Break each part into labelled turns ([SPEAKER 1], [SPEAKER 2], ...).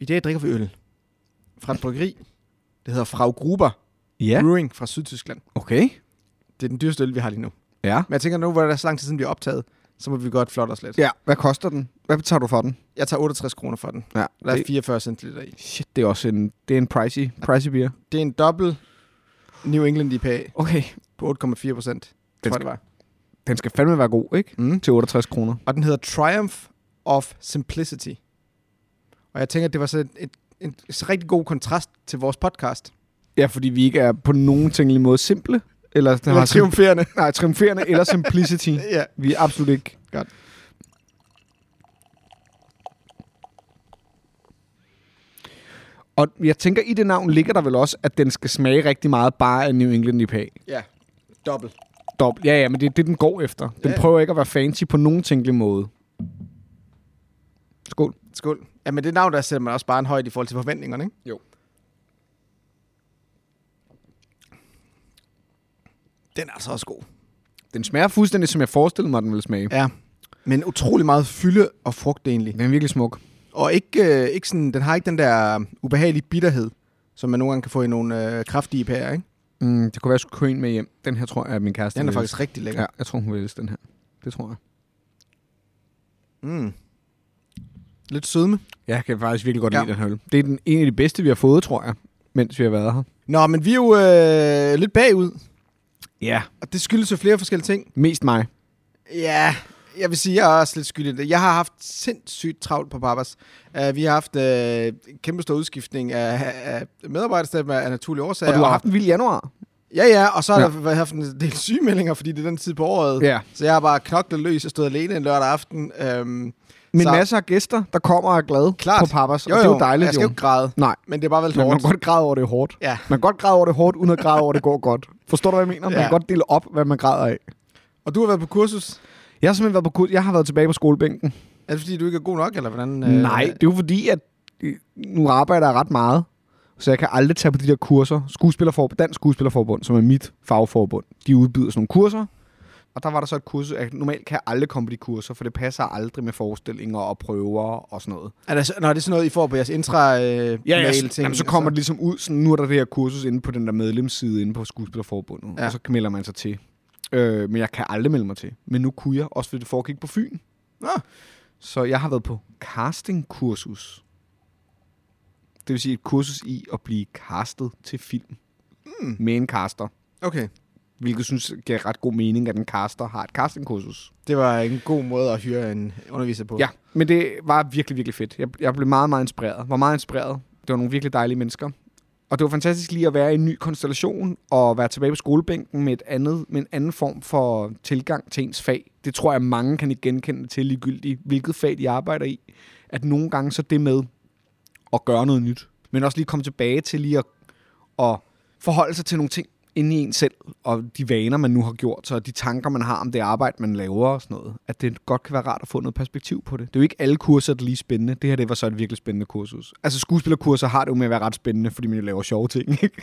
[SPEAKER 1] I dag drikker vi øl fra et bryggeri. Det hedder Frau Gruber
[SPEAKER 2] Ja,
[SPEAKER 1] Brewing fra Sydtyskland.
[SPEAKER 2] okay.
[SPEAKER 1] Det er den dyreste øl, vi har lige nu.
[SPEAKER 2] Ja.
[SPEAKER 1] Men jeg tænker nu, hvor der er så lang tid siden, vi er optaget, så må vi godt flotte os lidt.
[SPEAKER 2] Ja, hvad koster den? Hvad betaler du for den?
[SPEAKER 1] Jeg tager 68 kroner for den.
[SPEAKER 2] Ja,
[SPEAKER 1] Der er
[SPEAKER 2] det,
[SPEAKER 1] 44 centiliter i.
[SPEAKER 2] shit, det er også en, det er en pricey, pricey beer.
[SPEAKER 1] Det er en dobbelt New England IPA
[SPEAKER 2] Okay.
[SPEAKER 1] på 8,4 procent.
[SPEAKER 2] Den
[SPEAKER 1] Tror jeg,
[SPEAKER 2] skal-
[SPEAKER 1] det var.
[SPEAKER 2] Den skal fandme være god, ikke?
[SPEAKER 1] Mm.
[SPEAKER 2] Til 68 kroner.
[SPEAKER 1] Og den hedder Triumph of Simplicity. Og jeg tænker, at det var så et, et, en rigtig god kontrast til vores podcast.
[SPEAKER 2] Ja, fordi vi ikke er på nogen tænkelig måde simple. Eller,
[SPEAKER 1] Det var triumferende.
[SPEAKER 2] nej, triumferende eller simplicity.
[SPEAKER 1] ja.
[SPEAKER 2] Vi er absolut ikke.
[SPEAKER 1] Godt.
[SPEAKER 2] Og jeg tænker, i det navn ligger der vel også, at den skal smage rigtig meget bare af New England IPA.
[SPEAKER 1] Ja, dobbelt.
[SPEAKER 2] Dobbelt. Ja, ja, men det er det, den går efter. Den
[SPEAKER 1] Ja, ja.
[SPEAKER 2] prøver ikke at være fancy på nogen tænkelig måde. Skål.
[SPEAKER 1] Skål. Ja, men det navn, der sætter man også bare en højde i forhold til forventningerne, ikke?
[SPEAKER 2] Jo.
[SPEAKER 1] Den er så også god.
[SPEAKER 2] Den smager fuldstændig, som jeg forestillede mig, den ville smage.
[SPEAKER 1] Ja. Men utrolig meget fylde og frugt egentlig.
[SPEAKER 2] Den er virkelig smuk.
[SPEAKER 1] Og ikke, øh, ikke sådan, den har ikke den der ubehagelige bitterhed, som man nogle gange kan få i nogle øh, kraftige pærer, ikke?
[SPEAKER 2] Mm, det kunne være, jeg skulle købe en med hjem. Den her tror jeg, at min kæreste
[SPEAKER 1] Den er
[SPEAKER 2] vil
[SPEAKER 1] faktisk rigtig
[SPEAKER 2] elske.
[SPEAKER 1] lækker.
[SPEAKER 2] Ja, jeg tror, hun vil elske den her. Det tror jeg.
[SPEAKER 1] Mm. Lidt sødme.
[SPEAKER 2] Jeg kan faktisk virkelig godt
[SPEAKER 1] Ja.
[SPEAKER 2] lide den her øl. Det er den, en af de bedste, vi har fået, tror jeg, mens vi har været her.
[SPEAKER 1] Nå, men vi er jo øh, lidt bagud,
[SPEAKER 2] Ja.
[SPEAKER 1] og det skyldes jo flere forskellige ting.
[SPEAKER 2] Mest mig.
[SPEAKER 1] Ja, jeg vil sige, jeg er også lidt skyldig i det. Jeg har haft sindssygt travlt på Papas. Uh, vi har haft uh, en kæmpe stor udskiftning af, af medarbejderstab af af naturlige årsager.
[SPEAKER 2] Og du har haft en vild januar.
[SPEAKER 1] Ja, ja, og så har
[SPEAKER 2] Ja.
[SPEAKER 1] ja. der været haft en del sygemeldinger, fordi det er den tid på året.
[SPEAKER 2] Ja.
[SPEAKER 1] Så jeg har bare knoklet løs og stået alene en lørdag aften. Øhm,
[SPEAKER 2] Men
[SPEAKER 1] Så-
[SPEAKER 2] masser af gæster, der kommer og er glade
[SPEAKER 1] Klart.
[SPEAKER 2] på Pappers. og det er jo dejligt,
[SPEAKER 1] Jeg skal jo ikke græde,
[SPEAKER 2] Nej,
[SPEAKER 1] men det er bare vel
[SPEAKER 2] men man
[SPEAKER 1] hårdt.
[SPEAKER 2] kan godt græde over det er hårdt.
[SPEAKER 1] Ja.
[SPEAKER 2] Man kan godt græde over det er hårdt, uden at græde over, at det går godt. Forstår du, hvad jeg mener? Man
[SPEAKER 1] Ja.
[SPEAKER 2] kan godt dele op, hvad man græder af.
[SPEAKER 1] Og du har været på kursus.
[SPEAKER 2] Jeg har simpelthen været på kurs. Jeg har været tilbage på skolebænken.
[SPEAKER 1] Er det fordi, du ikke er god nok, eller hvordan?
[SPEAKER 2] Øh. Nej, det er jo fordi, at øh, nu arbejder jeg ret meget. Så jeg kan aldrig tage på de der kurser. Skuespillerforbund, Dansk Skuespillerforbund, som er mit fagforbund, de udbyder sådan nogle kurser. Og der var der så et kursus, at normalt kan jeg aldrig komme på de kurser, for det passer aldrig med forestillinger og prøver og sådan noget.
[SPEAKER 1] Er det, så- nå, det er sådan noget, I får på jeres intra øh,
[SPEAKER 2] Ja, ja
[SPEAKER 1] mail
[SPEAKER 2] så,
[SPEAKER 1] ting,
[SPEAKER 2] jamen, så kommer det ligesom ud, sådan, nu er der det her kursus inde på den der medlemsside inde på Skuespillerforbundet, ja.
[SPEAKER 1] Ja.
[SPEAKER 2] og så melder man sig til. Øh, men jeg kan aldrig melde mig til. Men nu kunne jeg, også fordi det foregik på Fyn.
[SPEAKER 1] Nå.
[SPEAKER 2] Så jeg har været på castingkursus. Det vil sige et kursus i at blive castet til film. Mm. Med en caster.
[SPEAKER 1] Okay.
[SPEAKER 2] Hvilket synes giver ret god mening, at en caster har et castingkursus.
[SPEAKER 1] Det var en god måde at hyre en underviser på.
[SPEAKER 2] Ja, men det var virkelig, virkelig fedt. Jeg, jeg blev meget, meget inspireret. Var meget inspireret. Det var nogle virkelig dejlige mennesker. Og det var fantastisk lige at være i en ny konstellation og være tilbage på skolebænken med, et andet, med en anden form for tilgang til ens fag. Det tror jeg, mange kan ikke genkende til ligegyldigt, hvilket fag de arbejder i. At nogle gange så det med at gøre noget nyt, men også lige komme tilbage til lige at, at forholde sig til nogle ting inde i en selv, og de vaner, man nu har gjort, så de tanker, man har om det arbejde, man laver og sådan noget, at det godt kan være rart at få noget perspektiv på det. Det er jo ikke alle kurser, der er lige spændende. Det her, det var så et virkelig spændende kursus. Altså skuespillerkurser har det jo med at være ret spændende, fordi man jo laver sjove ting, ikke?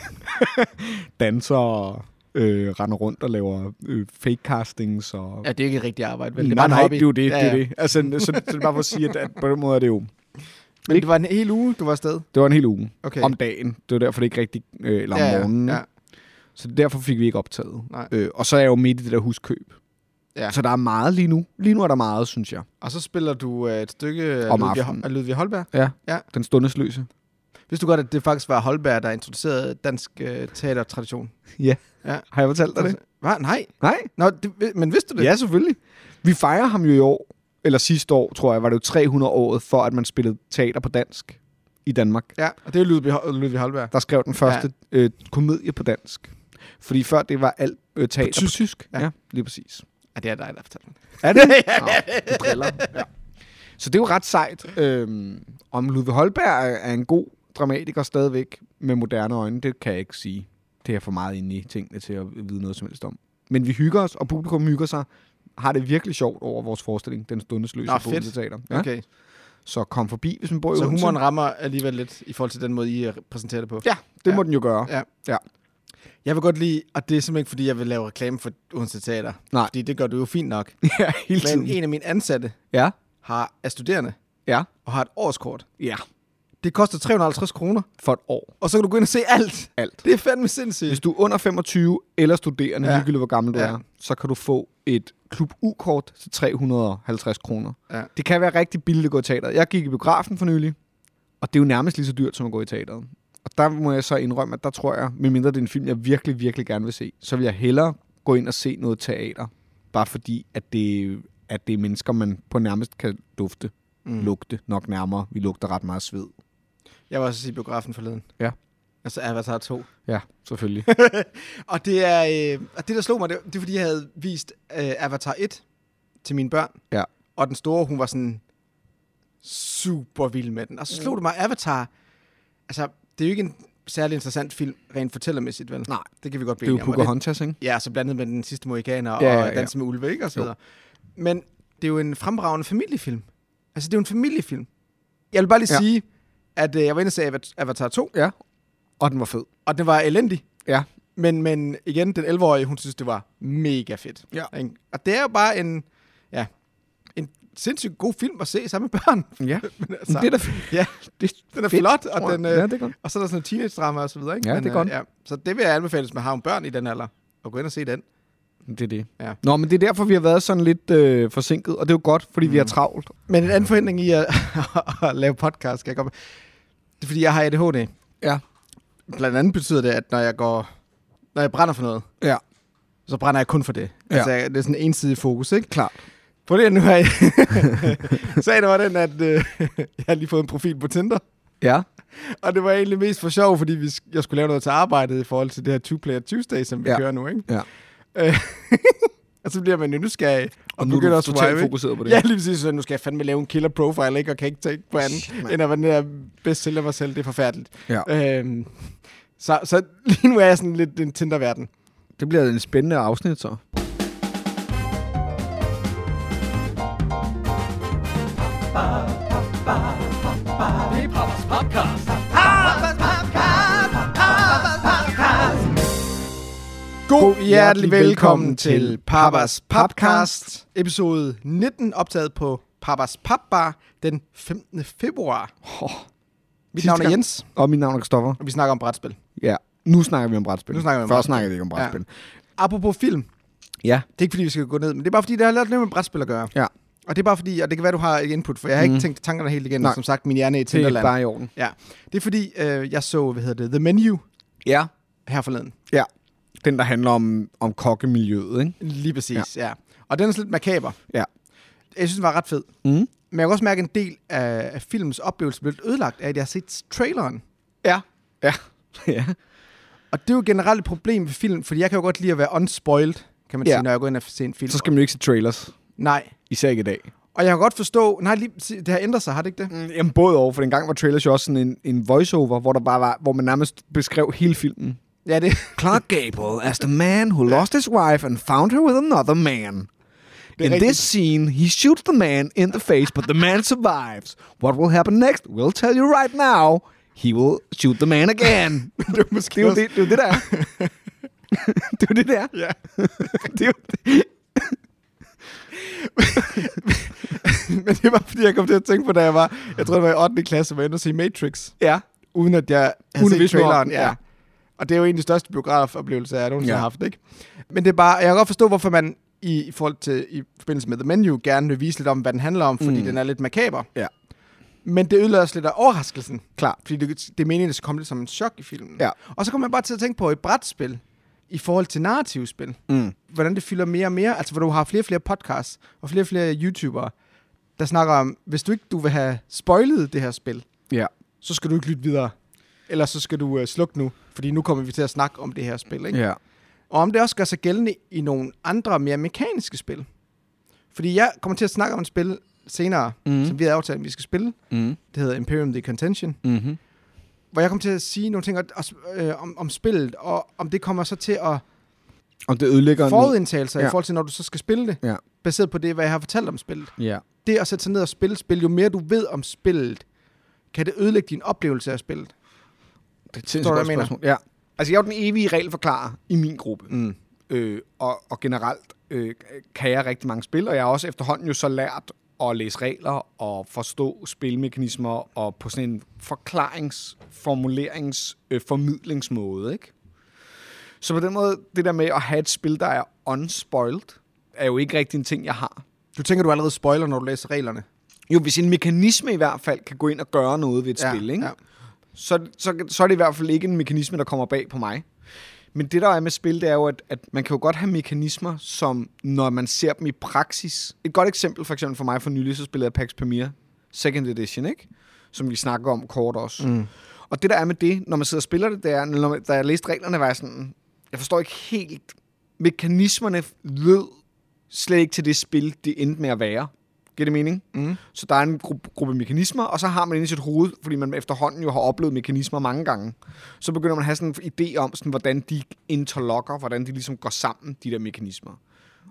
[SPEAKER 2] Danser og øh, render rundt og laver øh, fake castings og...
[SPEAKER 1] ja, det er ikke et rigtigt arbejde, vel? Det er
[SPEAKER 2] nej,
[SPEAKER 1] bare en
[SPEAKER 2] nej,
[SPEAKER 1] hobby.
[SPEAKER 2] det er jo det,
[SPEAKER 1] ja,
[SPEAKER 2] det er
[SPEAKER 1] ja.
[SPEAKER 2] det. Altså, så, så det er bare for at sige, at, at på den måde er det jo...
[SPEAKER 1] Men det var en hel uge, du var afsted.
[SPEAKER 2] Det var en hel uge
[SPEAKER 1] Okay.
[SPEAKER 2] om dagen. Det var derfor, det ikke rigtig... Øh, eller om
[SPEAKER 1] ja,
[SPEAKER 2] morgenen.
[SPEAKER 1] Ja, ja.
[SPEAKER 2] Så derfor fik vi ikke optaget.
[SPEAKER 1] Nej.
[SPEAKER 2] Øh, og så er jeg jo midt i det der huskøb.
[SPEAKER 1] Ja.
[SPEAKER 2] Så der er meget lige nu. Lige nu er der meget, synes jeg.
[SPEAKER 1] Og så spiller du øh, et stykke af
[SPEAKER 2] Om
[SPEAKER 1] Ludvig,
[SPEAKER 2] aftenen.
[SPEAKER 1] Ho- af Ludvig Holberg.
[SPEAKER 2] Ja.
[SPEAKER 1] Ja.
[SPEAKER 2] Den stundesløse.
[SPEAKER 1] Vidste du godt, at det faktisk var Holberg, der introducerede dansk øh, teatertradition?
[SPEAKER 2] Har jeg fortalt dig det?
[SPEAKER 1] Hva? Nej.
[SPEAKER 2] Nej.
[SPEAKER 1] Nå, det, vi- men vidste du Altså, det?
[SPEAKER 2] Ja, selvfølgelig. Vi fejrer ham jo i år, eller sidste år, tror jeg, var det jo 300 året for, at man spillede teater på dansk i Danmark.
[SPEAKER 1] Ja, og det er jo Ludvig, Ho- Ludvig Holberg.
[SPEAKER 2] Der skrev den første ja. øh, komedie på dansk. Fordi før det var alt øh, teater
[SPEAKER 1] På tysk.
[SPEAKER 2] Ja.
[SPEAKER 1] Ja.
[SPEAKER 2] ja, lige præcis.
[SPEAKER 1] Ja, det er dig, der fortæller
[SPEAKER 2] Er det? Nå, du driller. Ja. Så det er jo ret sejt. Øhm, om Ludvig Holberg er- er en god dramatiker stadigvæk med moderne øjne, det kan jeg ikke sige. Det er jeg for meget inde i tingene til at vide noget som helst om. Men vi hygger os, og publikum hygger sig. Har det virkelig sjovt over vores forestilling, Den stundesløse
[SPEAKER 1] Nå,
[SPEAKER 2] på
[SPEAKER 1] fedt.
[SPEAKER 2] Odense Teater. Ja?
[SPEAKER 1] ja. Okay.
[SPEAKER 2] Så kom forbi, hvis man bor i
[SPEAKER 1] Så
[SPEAKER 2] Odense.
[SPEAKER 1] humoren rammer alligevel lidt i forhold til den måde, I øh, præsenterer det på.
[SPEAKER 2] Ja, det ja.
[SPEAKER 1] Ja.
[SPEAKER 2] må den jo gøre.
[SPEAKER 1] Ja.
[SPEAKER 2] Ja.
[SPEAKER 1] Jeg vil godt lide, og det er simpelthen ikke, fordi jeg vil lave reklame for Odense Teater.
[SPEAKER 2] Nej.
[SPEAKER 1] Fordi det gør du jo fint nok.
[SPEAKER 2] Ja, hele tiden.
[SPEAKER 1] Men en af mine ansatte
[SPEAKER 2] Ja,
[SPEAKER 1] har, er studerende
[SPEAKER 2] ja,
[SPEAKER 1] og har et årskort.
[SPEAKER 2] ja.
[SPEAKER 1] Det koster 350 kroner,
[SPEAKER 2] for et år.
[SPEAKER 1] og så kan du gå ind og se alt.
[SPEAKER 2] Alt.
[SPEAKER 1] Det er fandme sindssygt.
[SPEAKER 2] Hvis du er under 25 eller studerende, ja.
[SPEAKER 1] Ja.
[SPEAKER 2] ligegyldigt hvor gammel du
[SPEAKER 1] Ja.
[SPEAKER 2] er, så kan du få et klub U-kort til 350 kroner.
[SPEAKER 1] Ja.
[SPEAKER 2] Det kan være rigtig billigt at gå i teateret. Jeg gik i biografen for nylig, og det er jo nærmest lige så dyrt som at gå i teateret. Og der må jeg så indrømme, at der tror jeg, medmindre det er en film, jeg virkelig, virkelig gerne vil se, så vil jeg hellere gå ind og se noget teater, bare fordi, at det, at det er mennesker, man på nærmest kan dufte, mm. lugte nok nærmere. Vi lugter ret meget sved.
[SPEAKER 1] Jeg var også i biografen forleden.
[SPEAKER 2] Ja.
[SPEAKER 1] Altså Avatar 2.
[SPEAKER 2] Ja, selvfølgelig.
[SPEAKER 1] Og det er øh, og det der slog mig, det, det er fordi jeg havde vist øh, Avatar 1 til mine børn.
[SPEAKER 2] Ja.
[SPEAKER 1] Og den store, hun var sådan super vild med den. Og så slog det mig Avatar. Altså det er jo ikke en særlig interessant film rent fortællermæssigt, vel?
[SPEAKER 2] Nej.
[SPEAKER 1] det kan vi godt
[SPEAKER 2] det er
[SPEAKER 1] blive
[SPEAKER 2] jo
[SPEAKER 1] enige om. Og det-
[SPEAKER 2] Pocahontas, ikke?
[SPEAKER 1] Ja, så blandet med den sidste mohikaner
[SPEAKER 2] Ja, ja,
[SPEAKER 1] og
[SPEAKER 2] ja.
[SPEAKER 1] Danse med ulve, ikke? Og så
[SPEAKER 2] Jo.
[SPEAKER 1] videre. Men det er jo en fremragende familiefilm. Altså, det er jo en familiefilm. Jeg vil bare lige
[SPEAKER 2] Ja.
[SPEAKER 1] ja. sige, at øh, jeg var inde og se Ava- Avatar 2,
[SPEAKER 2] Ja. Og den var fed.
[SPEAKER 1] og den var elendig.
[SPEAKER 2] Ja.
[SPEAKER 1] Men, men igen, den 11-årige, hun synes, det var mega fedt.
[SPEAKER 2] Ja.
[SPEAKER 1] Ikke? Og det er jo bare en, ja, en sindssygt god film at se sammen med børn.
[SPEAKER 2] Ja.
[SPEAKER 1] Men
[SPEAKER 2] Så.
[SPEAKER 1] altså,
[SPEAKER 2] Det er da
[SPEAKER 1] ja,
[SPEAKER 2] det,
[SPEAKER 1] den er
[SPEAKER 2] Fedt,
[SPEAKER 1] flot,
[SPEAKER 2] tror
[SPEAKER 1] og,
[SPEAKER 2] jeg.
[SPEAKER 1] den,
[SPEAKER 2] ja,
[SPEAKER 1] øh,
[SPEAKER 2] det er godt.
[SPEAKER 1] og så er der sådan en teenage-drama og så videre. Ikke?
[SPEAKER 2] Ja, det er
[SPEAKER 1] øh,
[SPEAKER 2] godt.
[SPEAKER 1] Ja. Så det vil jeg anbefale, hvis man har en børn i den alder, at gå ind og se den.
[SPEAKER 2] Det er det.
[SPEAKER 1] Ja.
[SPEAKER 2] Nå, men det er derfor, vi har været sådan lidt øh, forsinket, og det er jo godt, fordi mm. vi har travlt.
[SPEAKER 1] Men en anden forhindring i at, at lave podcast, skal jeg komme Det er, fordi jeg har ADHD.
[SPEAKER 2] Ja.
[SPEAKER 1] Blandt andet betyder det, at når jeg går... Når jeg brænder for noget,
[SPEAKER 2] Ja,
[SPEAKER 1] så brænder jeg kun for det.
[SPEAKER 2] Ja.
[SPEAKER 1] Ja. Altså, det er sådan en ensidig fokus, ikke?
[SPEAKER 2] klart.
[SPEAKER 1] På det, nu har jeg... Sagen var den, at øh, jeg har lige fået en profil på Tinder.
[SPEAKER 2] Ja,
[SPEAKER 1] Og det var egentlig mest for sjov, fordi vi, sk- jeg skulle lave noget til arbejdet i forhold til det her Two Player Tuesday, som vi
[SPEAKER 2] Ja.
[SPEAKER 1] ja. kører nu, ikke?
[SPEAKER 2] Ja.
[SPEAKER 1] Øh, og så bliver man jo nysgerrig. Og,
[SPEAKER 2] og nu er
[SPEAKER 1] begynder
[SPEAKER 2] du
[SPEAKER 1] at swipe,
[SPEAKER 2] totalt
[SPEAKER 1] ikke?
[SPEAKER 2] fokuseret på det.
[SPEAKER 1] Ja, lige præcis. Så nu skal jeg fandme lave en killer profile, ikke? Og kan ikke tænke på andet,
[SPEAKER 2] Shit,
[SPEAKER 1] Shit,
[SPEAKER 2] mand.
[SPEAKER 1] end at være den der bedst sælger mig selv. Det er forfærdeligt.
[SPEAKER 2] Ja.
[SPEAKER 1] Øhm, så, så lige nu er jeg sådan lidt en Tinder-verden.
[SPEAKER 2] Det bliver en spændende afsnit, så.
[SPEAKER 1] God hjertelig velkommen til Papas Podcast, episode 19, optaget på Papas Papbar den 15. februar.
[SPEAKER 2] Oh,
[SPEAKER 1] Mit
[SPEAKER 2] Sidste
[SPEAKER 1] navn er
[SPEAKER 2] gang.
[SPEAKER 1] Jens,
[SPEAKER 2] og mit navn er Kristoffer.
[SPEAKER 1] og vi snakker om brætspil.
[SPEAKER 2] Ja, nu snakker vi om brætspil.
[SPEAKER 1] Nu snakker vi om
[SPEAKER 2] Før
[SPEAKER 1] brætspil.
[SPEAKER 2] snakkede vi ikke om brætspil.
[SPEAKER 1] Apropos film,
[SPEAKER 2] Ja.
[SPEAKER 1] det er ikke fordi, vi skal gå ned, men det er bare fordi, det har lidt med brætspil at gøre.
[SPEAKER 2] Ja.
[SPEAKER 1] Og det er bare fordi, og det kan være, du har et input, for jeg har mm.
[SPEAKER 2] Mhm.
[SPEAKER 1] ikke tænkt tankerne helt igennem,
[SPEAKER 2] Nej.
[SPEAKER 1] som sagt, min hjerne er i
[SPEAKER 2] Det er
[SPEAKER 1] Tinderland.
[SPEAKER 2] bare i orden.
[SPEAKER 1] Ja, det er fordi, øh, jeg så, hvad hedder det, The Menu
[SPEAKER 2] Ja.
[SPEAKER 1] her forleden.
[SPEAKER 2] Ja. Den, der handler om, om kokkemiljøet, ikke?
[SPEAKER 1] Lige præcis, ja. ja. Og den er sådan lidt makaber.
[SPEAKER 2] Ja.
[SPEAKER 1] Jeg synes, den var ret fed.
[SPEAKER 2] Mm.
[SPEAKER 1] Men jeg kan også mærke, at en del af, af filmens oplevelse blev lidt ødelagt af, at jeg har set traileren.
[SPEAKER 2] Ja. Ja. ja.
[SPEAKER 1] Og det er jo generelt et problem ved film, fordi jeg kan jo godt lide at være unspoiled, kan man
[SPEAKER 2] Ja.
[SPEAKER 1] ja. sige, når jeg går ind og ser en film.
[SPEAKER 2] Så skal man jo ikke se trailers.
[SPEAKER 1] Nej.
[SPEAKER 2] Især ikke i dag.
[SPEAKER 1] Og jeg kan godt forstå, nej, lige, præcis, det har ændret sig, har det ikke det?
[SPEAKER 2] Mm, Jamen både over, for en gang var trailers jo også sådan en, en voiceover, hvor der bare var, hvor man nærmest beskrev hele filmen.
[SPEAKER 1] Ja, det,
[SPEAKER 2] Clark Gable as the man who lost his wife and found her with another man.
[SPEAKER 1] er
[SPEAKER 2] In
[SPEAKER 1] rigtigt.
[SPEAKER 2] this scene, he shoots the man in the face, but the man survives. What will happen next? We'll tell you right now. He will shoot the man again.
[SPEAKER 1] det er måske
[SPEAKER 2] det er jo det, det, er jo det der. det er jo det der.
[SPEAKER 1] Ja.
[SPEAKER 2] Det er jo
[SPEAKER 1] Men det var, fordi jeg kom til at tænke på, da jeg var, jeg tror, det var i 8. klasse, hvor jeg endte at se Matrix.
[SPEAKER 2] Ja.
[SPEAKER 1] uden at jeg havde
[SPEAKER 2] Uden at
[SPEAKER 1] set
[SPEAKER 2] vidste noget om
[SPEAKER 1] traileren.
[SPEAKER 2] den,
[SPEAKER 1] Ja.
[SPEAKER 2] ja.
[SPEAKER 1] ja. Og det er jo egentlig den største biografoplevelse, jeg nogensinde
[SPEAKER 2] Ja.
[SPEAKER 1] ja. har haft, ikke? Men det er bare, jeg kan godt forstå, hvorfor man i, i forhold til, i forbindelse med The Menu, gerne vil vise lidt om, hvad den handler om, fordi
[SPEAKER 2] Mm.
[SPEAKER 1] mm. den er lidt makaber.
[SPEAKER 2] Ja.
[SPEAKER 1] Men det ødelagde også lidt af overraskelsen,
[SPEAKER 2] Klart.
[SPEAKER 1] fordi det, det er meningen, at det skal komme lidt som en chok i filmen.
[SPEAKER 2] Ja.
[SPEAKER 1] Og så kommer jeg bare til at tænke på et brætspil, i forhold til narrativspil,
[SPEAKER 2] Mm.
[SPEAKER 1] hvordan det fylder mere og mere, altså hvor du har flere og flere podcasts, og flere og flere YouTubere, der snakker om, hvis du ikke du vil have spoilet det her spil,
[SPEAKER 2] Ja.
[SPEAKER 1] så skal du ikke lytte videre. Eller så skal du øh, slukke nu, fordi nu kommer vi til at snakke om det her spil. Ikke?
[SPEAKER 2] Ja.
[SPEAKER 1] Og om det også gør sig gældende i nogle andre, mere mekaniske spil. Fordi jeg kommer til at snakke om et spil senere,
[SPEAKER 2] Mhm.
[SPEAKER 1] mm. som vi havde aftalt, at vi skal spille.
[SPEAKER 2] Mm.
[SPEAKER 1] Det hedder Imperium The Contention.
[SPEAKER 2] Mm-hmm.
[SPEAKER 1] Hvor jeg kommer til at sige nogle ting og, og, øh, om, om spillet, og om det kommer så til at
[SPEAKER 2] Og det ødelægger... noget-
[SPEAKER 1] forudindtale sig
[SPEAKER 2] Ja.
[SPEAKER 1] i forhold til, når du så skal spille det.
[SPEAKER 2] Ja.
[SPEAKER 1] Baseret på det, hvad jeg har fortalt om spillet.
[SPEAKER 2] Ja.
[SPEAKER 1] Det at sætte sig ned og spille et spil, jo mere du ved om spillet, kan det ødelægge din oplevelse af spillet.
[SPEAKER 2] Det er et
[SPEAKER 1] Forstår
[SPEAKER 2] sindssygt
[SPEAKER 1] du,
[SPEAKER 2] godt
[SPEAKER 1] hvad jeg mener?
[SPEAKER 2] spørgsmål. Ja. Altså, jeg er jo den evige regelforklarer i min gruppe.
[SPEAKER 1] Mm.
[SPEAKER 2] Øh, og, og generelt øh, kan jeg rigtig mange spil, og jeg har også efterhånden jo så lært at læse regler og forstå spilmekanismer og på sådan en forklarings, formulerings, øh, formidlingsmåde, ikke? Så på den måde, det der med at have et spil, der er unspoiled, er jo ikke rigtig en ting, jeg har.
[SPEAKER 1] Du tænker, du allerede spoiler, når du læser reglerne.
[SPEAKER 2] Jo, hvis en mekanisme i hvert fald kan gå ind og gøre noget ved et
[SPEAKER 1] Ja,
[SPEAKER 2] spil, ikke?
[SPEAKER 1] ja.
[SPEAKER 2] Så, så, så er det i hvert fald ikke en mekanisme, der kommer bag på mig. Men det, der er med spil, det er jo, at, at man kan jo godt have mekanismer, som når man ser dem i praksis... Et godt eksempel for eksempel for mig for nylig, så spillede jeg Pax Premier Second Edition, ikke? Som vi snakker om kort også. Mm. Og det, der er med det, når man sidder og spiller det, det er, når man, da jeg læste reglerne, var jeg sådan... Jeg forstår ikke helt... Mekanismerne lød slet ikke til det spil, det endte med at være. Giver det mening?
[SPEAKER 1] Mm.
[SPEAKER 2] Så der er en gruppe, gruppe mekanismer, og så har man inde i sit hoved, fordi man efterhånden jo har oplevet mekanismer mange gange, så begynder man at have sådan en idé om, sådan, hvordan de interlocker, hvordan de ligesom går sammen, de der mekanismer.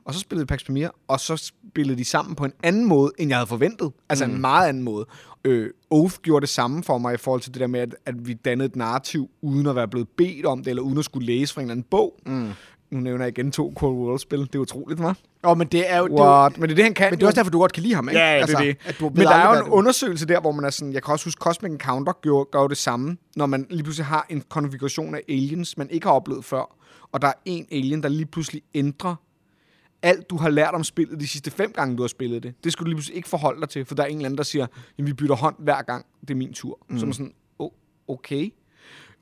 [SPEAKER 2] Og så spillede Pax Premier, og så spillede de sammen på en anden måde, end jeg havde forventet. Altså mm. en meget anden måde. Øh, Oath gjorde det samme for mig i forhold til det der med, at, at vi dannede et narrativ, uden at være blevet bedt om det, eller uden at skulle læse fra en eller anden bog. Mm. Nu nævner jeg igen to Cold World-spil. Det er utroligt, hva'?
[SPEAKER 1] Åh, men det er jo... Det, er jo-
[SPEAKER 2] What? Men det er det, han kan.
[SPEAKER 1] men det er
[SPEAKER 2] jo.
[SPEAKER 1] også derfor, du godt kan lide ham, ikke?
[SPEAKER 2] Ja, altså,
[SPEAKER 1] altså,
[SPEAKER 2] det er
[SPEAKER 1] At
[SPEAKER 2] det.
[SPEAKER 1] du
[SPEAKER 2] Men der er jo en
[SPEAKER 1] en under...
[SPEAKER 2] undersøgelse der, hvor man er sådan... Jeg kan også huske, Cosmic Encounter gjorde, gør jo det samme, når man lige pludselig har en konfiguration af aliens, man ikke har oplevet før, og der er en alien, der lige pludselig ændrer alt, du har lært om spillet de sidste fem gange, du har spillet det. Det skulle du lige pludselig ikke forholde dig til, for der er en eller anden, der siger, jamen, vi bytter hånd hver gang, det er min tur. Mm. Så er man sådan, oh, okay.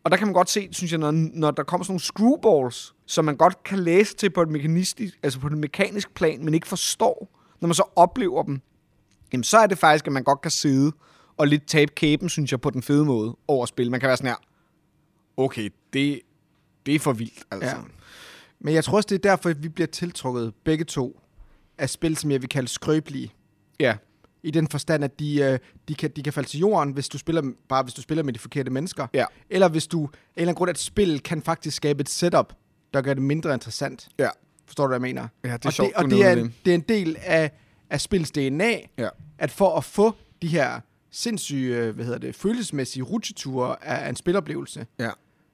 [SPEAKER 2] Og der kan man godt se, synes jeg, når, når der kommer sådan nogle screwballs, som man godt kan læse til på et mekanistisk, altså på et mekanisk plan, men ikke forstår, når man så oplever dem, jamen så er det faktisk, at man godt kan sidde og lidt tabe kæben, synes jeg, på den fede måde over at spille. Man kan være sådan her, okay, det, det er for vildt, altså.
[SPEAKER 1] Ja. Men jeg tror også, det er derfor, at vi bliver tiltrukket begge to af spil, som jeg vil kalde skrøbelige.
[SPEAKER 2] ja.
[SPEAKER 1] I den forstand, at de, øh, de, kan, de kan falde til jorden, hvis du spiller, dem- bare hvis du spiller med de forkerte mennesker.
[SPEAKER 2] Ja.
[SPEAKER 1] Eller hvis du, af en eller anden grund, at spil kan faktisk skabe et setup, der gør det mindre interessant.
[SPEAKER 2] ja.
[SPEAKER 1] Forstår du, hvad jeg mener?
[SPEAKER 2] Ja, det er
[SPEAKER 1] og
[SPEAKER 2] sjovt,
[SPEAKER 1] det, og
[SPEAKER 2] du
[SPEAKER 1] det, er,
[SPEAKER 2] nævner det.
[SPEAKER 1] det er en del af, af spils DNA,
[SPEAKER 2] Ja.
[SPEAKER 1] at for at få de her sindssyge, øh, hvad hedder det, følelsesmæssige rutsjeture af, af en spiloplevelse,
[SPEAKER 2] Ja.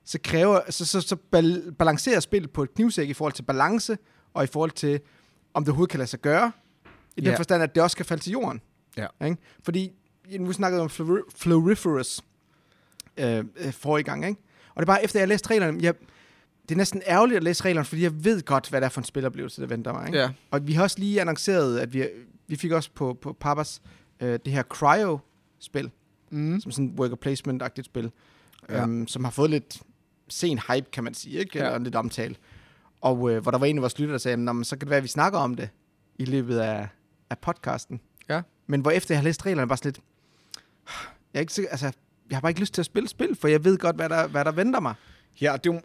[SPEAKER 1] så, kræver, så, så, så bal- balancerer spillet på et knivsæk i forhold til balance, og i forhold til, om det overhovedet kan lade sig gøre, i den
[SPEAKER 2] Ja.
[SPEAKER 1] forstand, at det også skal falde til jorden.
[SPEAKER 2] Ja.
[SPEAKER 1] Ikke? Fordi, ja, nu snakkede jeg om flor- Floriferous øh, øh, forrige gang, ikke? og det er bare efter, jeg læste reglerne, jeg, det er næsten ærgerligt at læse reglerne, fordi jeg ved godt, hvad det er for en spiloplevelse, der venter mig. Ikke?
[SPEAKER 2] Ja.
[SPEAKER 1] Og vi har også lige annonceret, at vi, vi fik også på, på Papas øh, det her Cryo-spil,
[SPEAKER 2] Mm.
[SPEAKER 1] som sådan et worker placement-agtigt spil,
[SPEAKER 2] Ja.
[SPEAKER 1] ja. øhm, som har fået lidt sen hype, kan man sige, ikke?
[SPEAKER 2] Ja.
[SPEAKER 1] Eller lidt omtale. Og øh, hvor der var en af vores lytter, der sagde, "Nå, men så kan det være, at vi snakker om det i løbet af, af podcasten.
[SPEAKER 2] Ja.
[SPEAKER 1] Men hvor efter jeg har læst reglerne, var sådan lidt, jeg er ikke sikker, altså, jeg har bare ikke lyst til at spille spil, for jeg ved godt, hvad der, hvad der venter mig.
[SPEAKER 2] Ja, og det, er jo,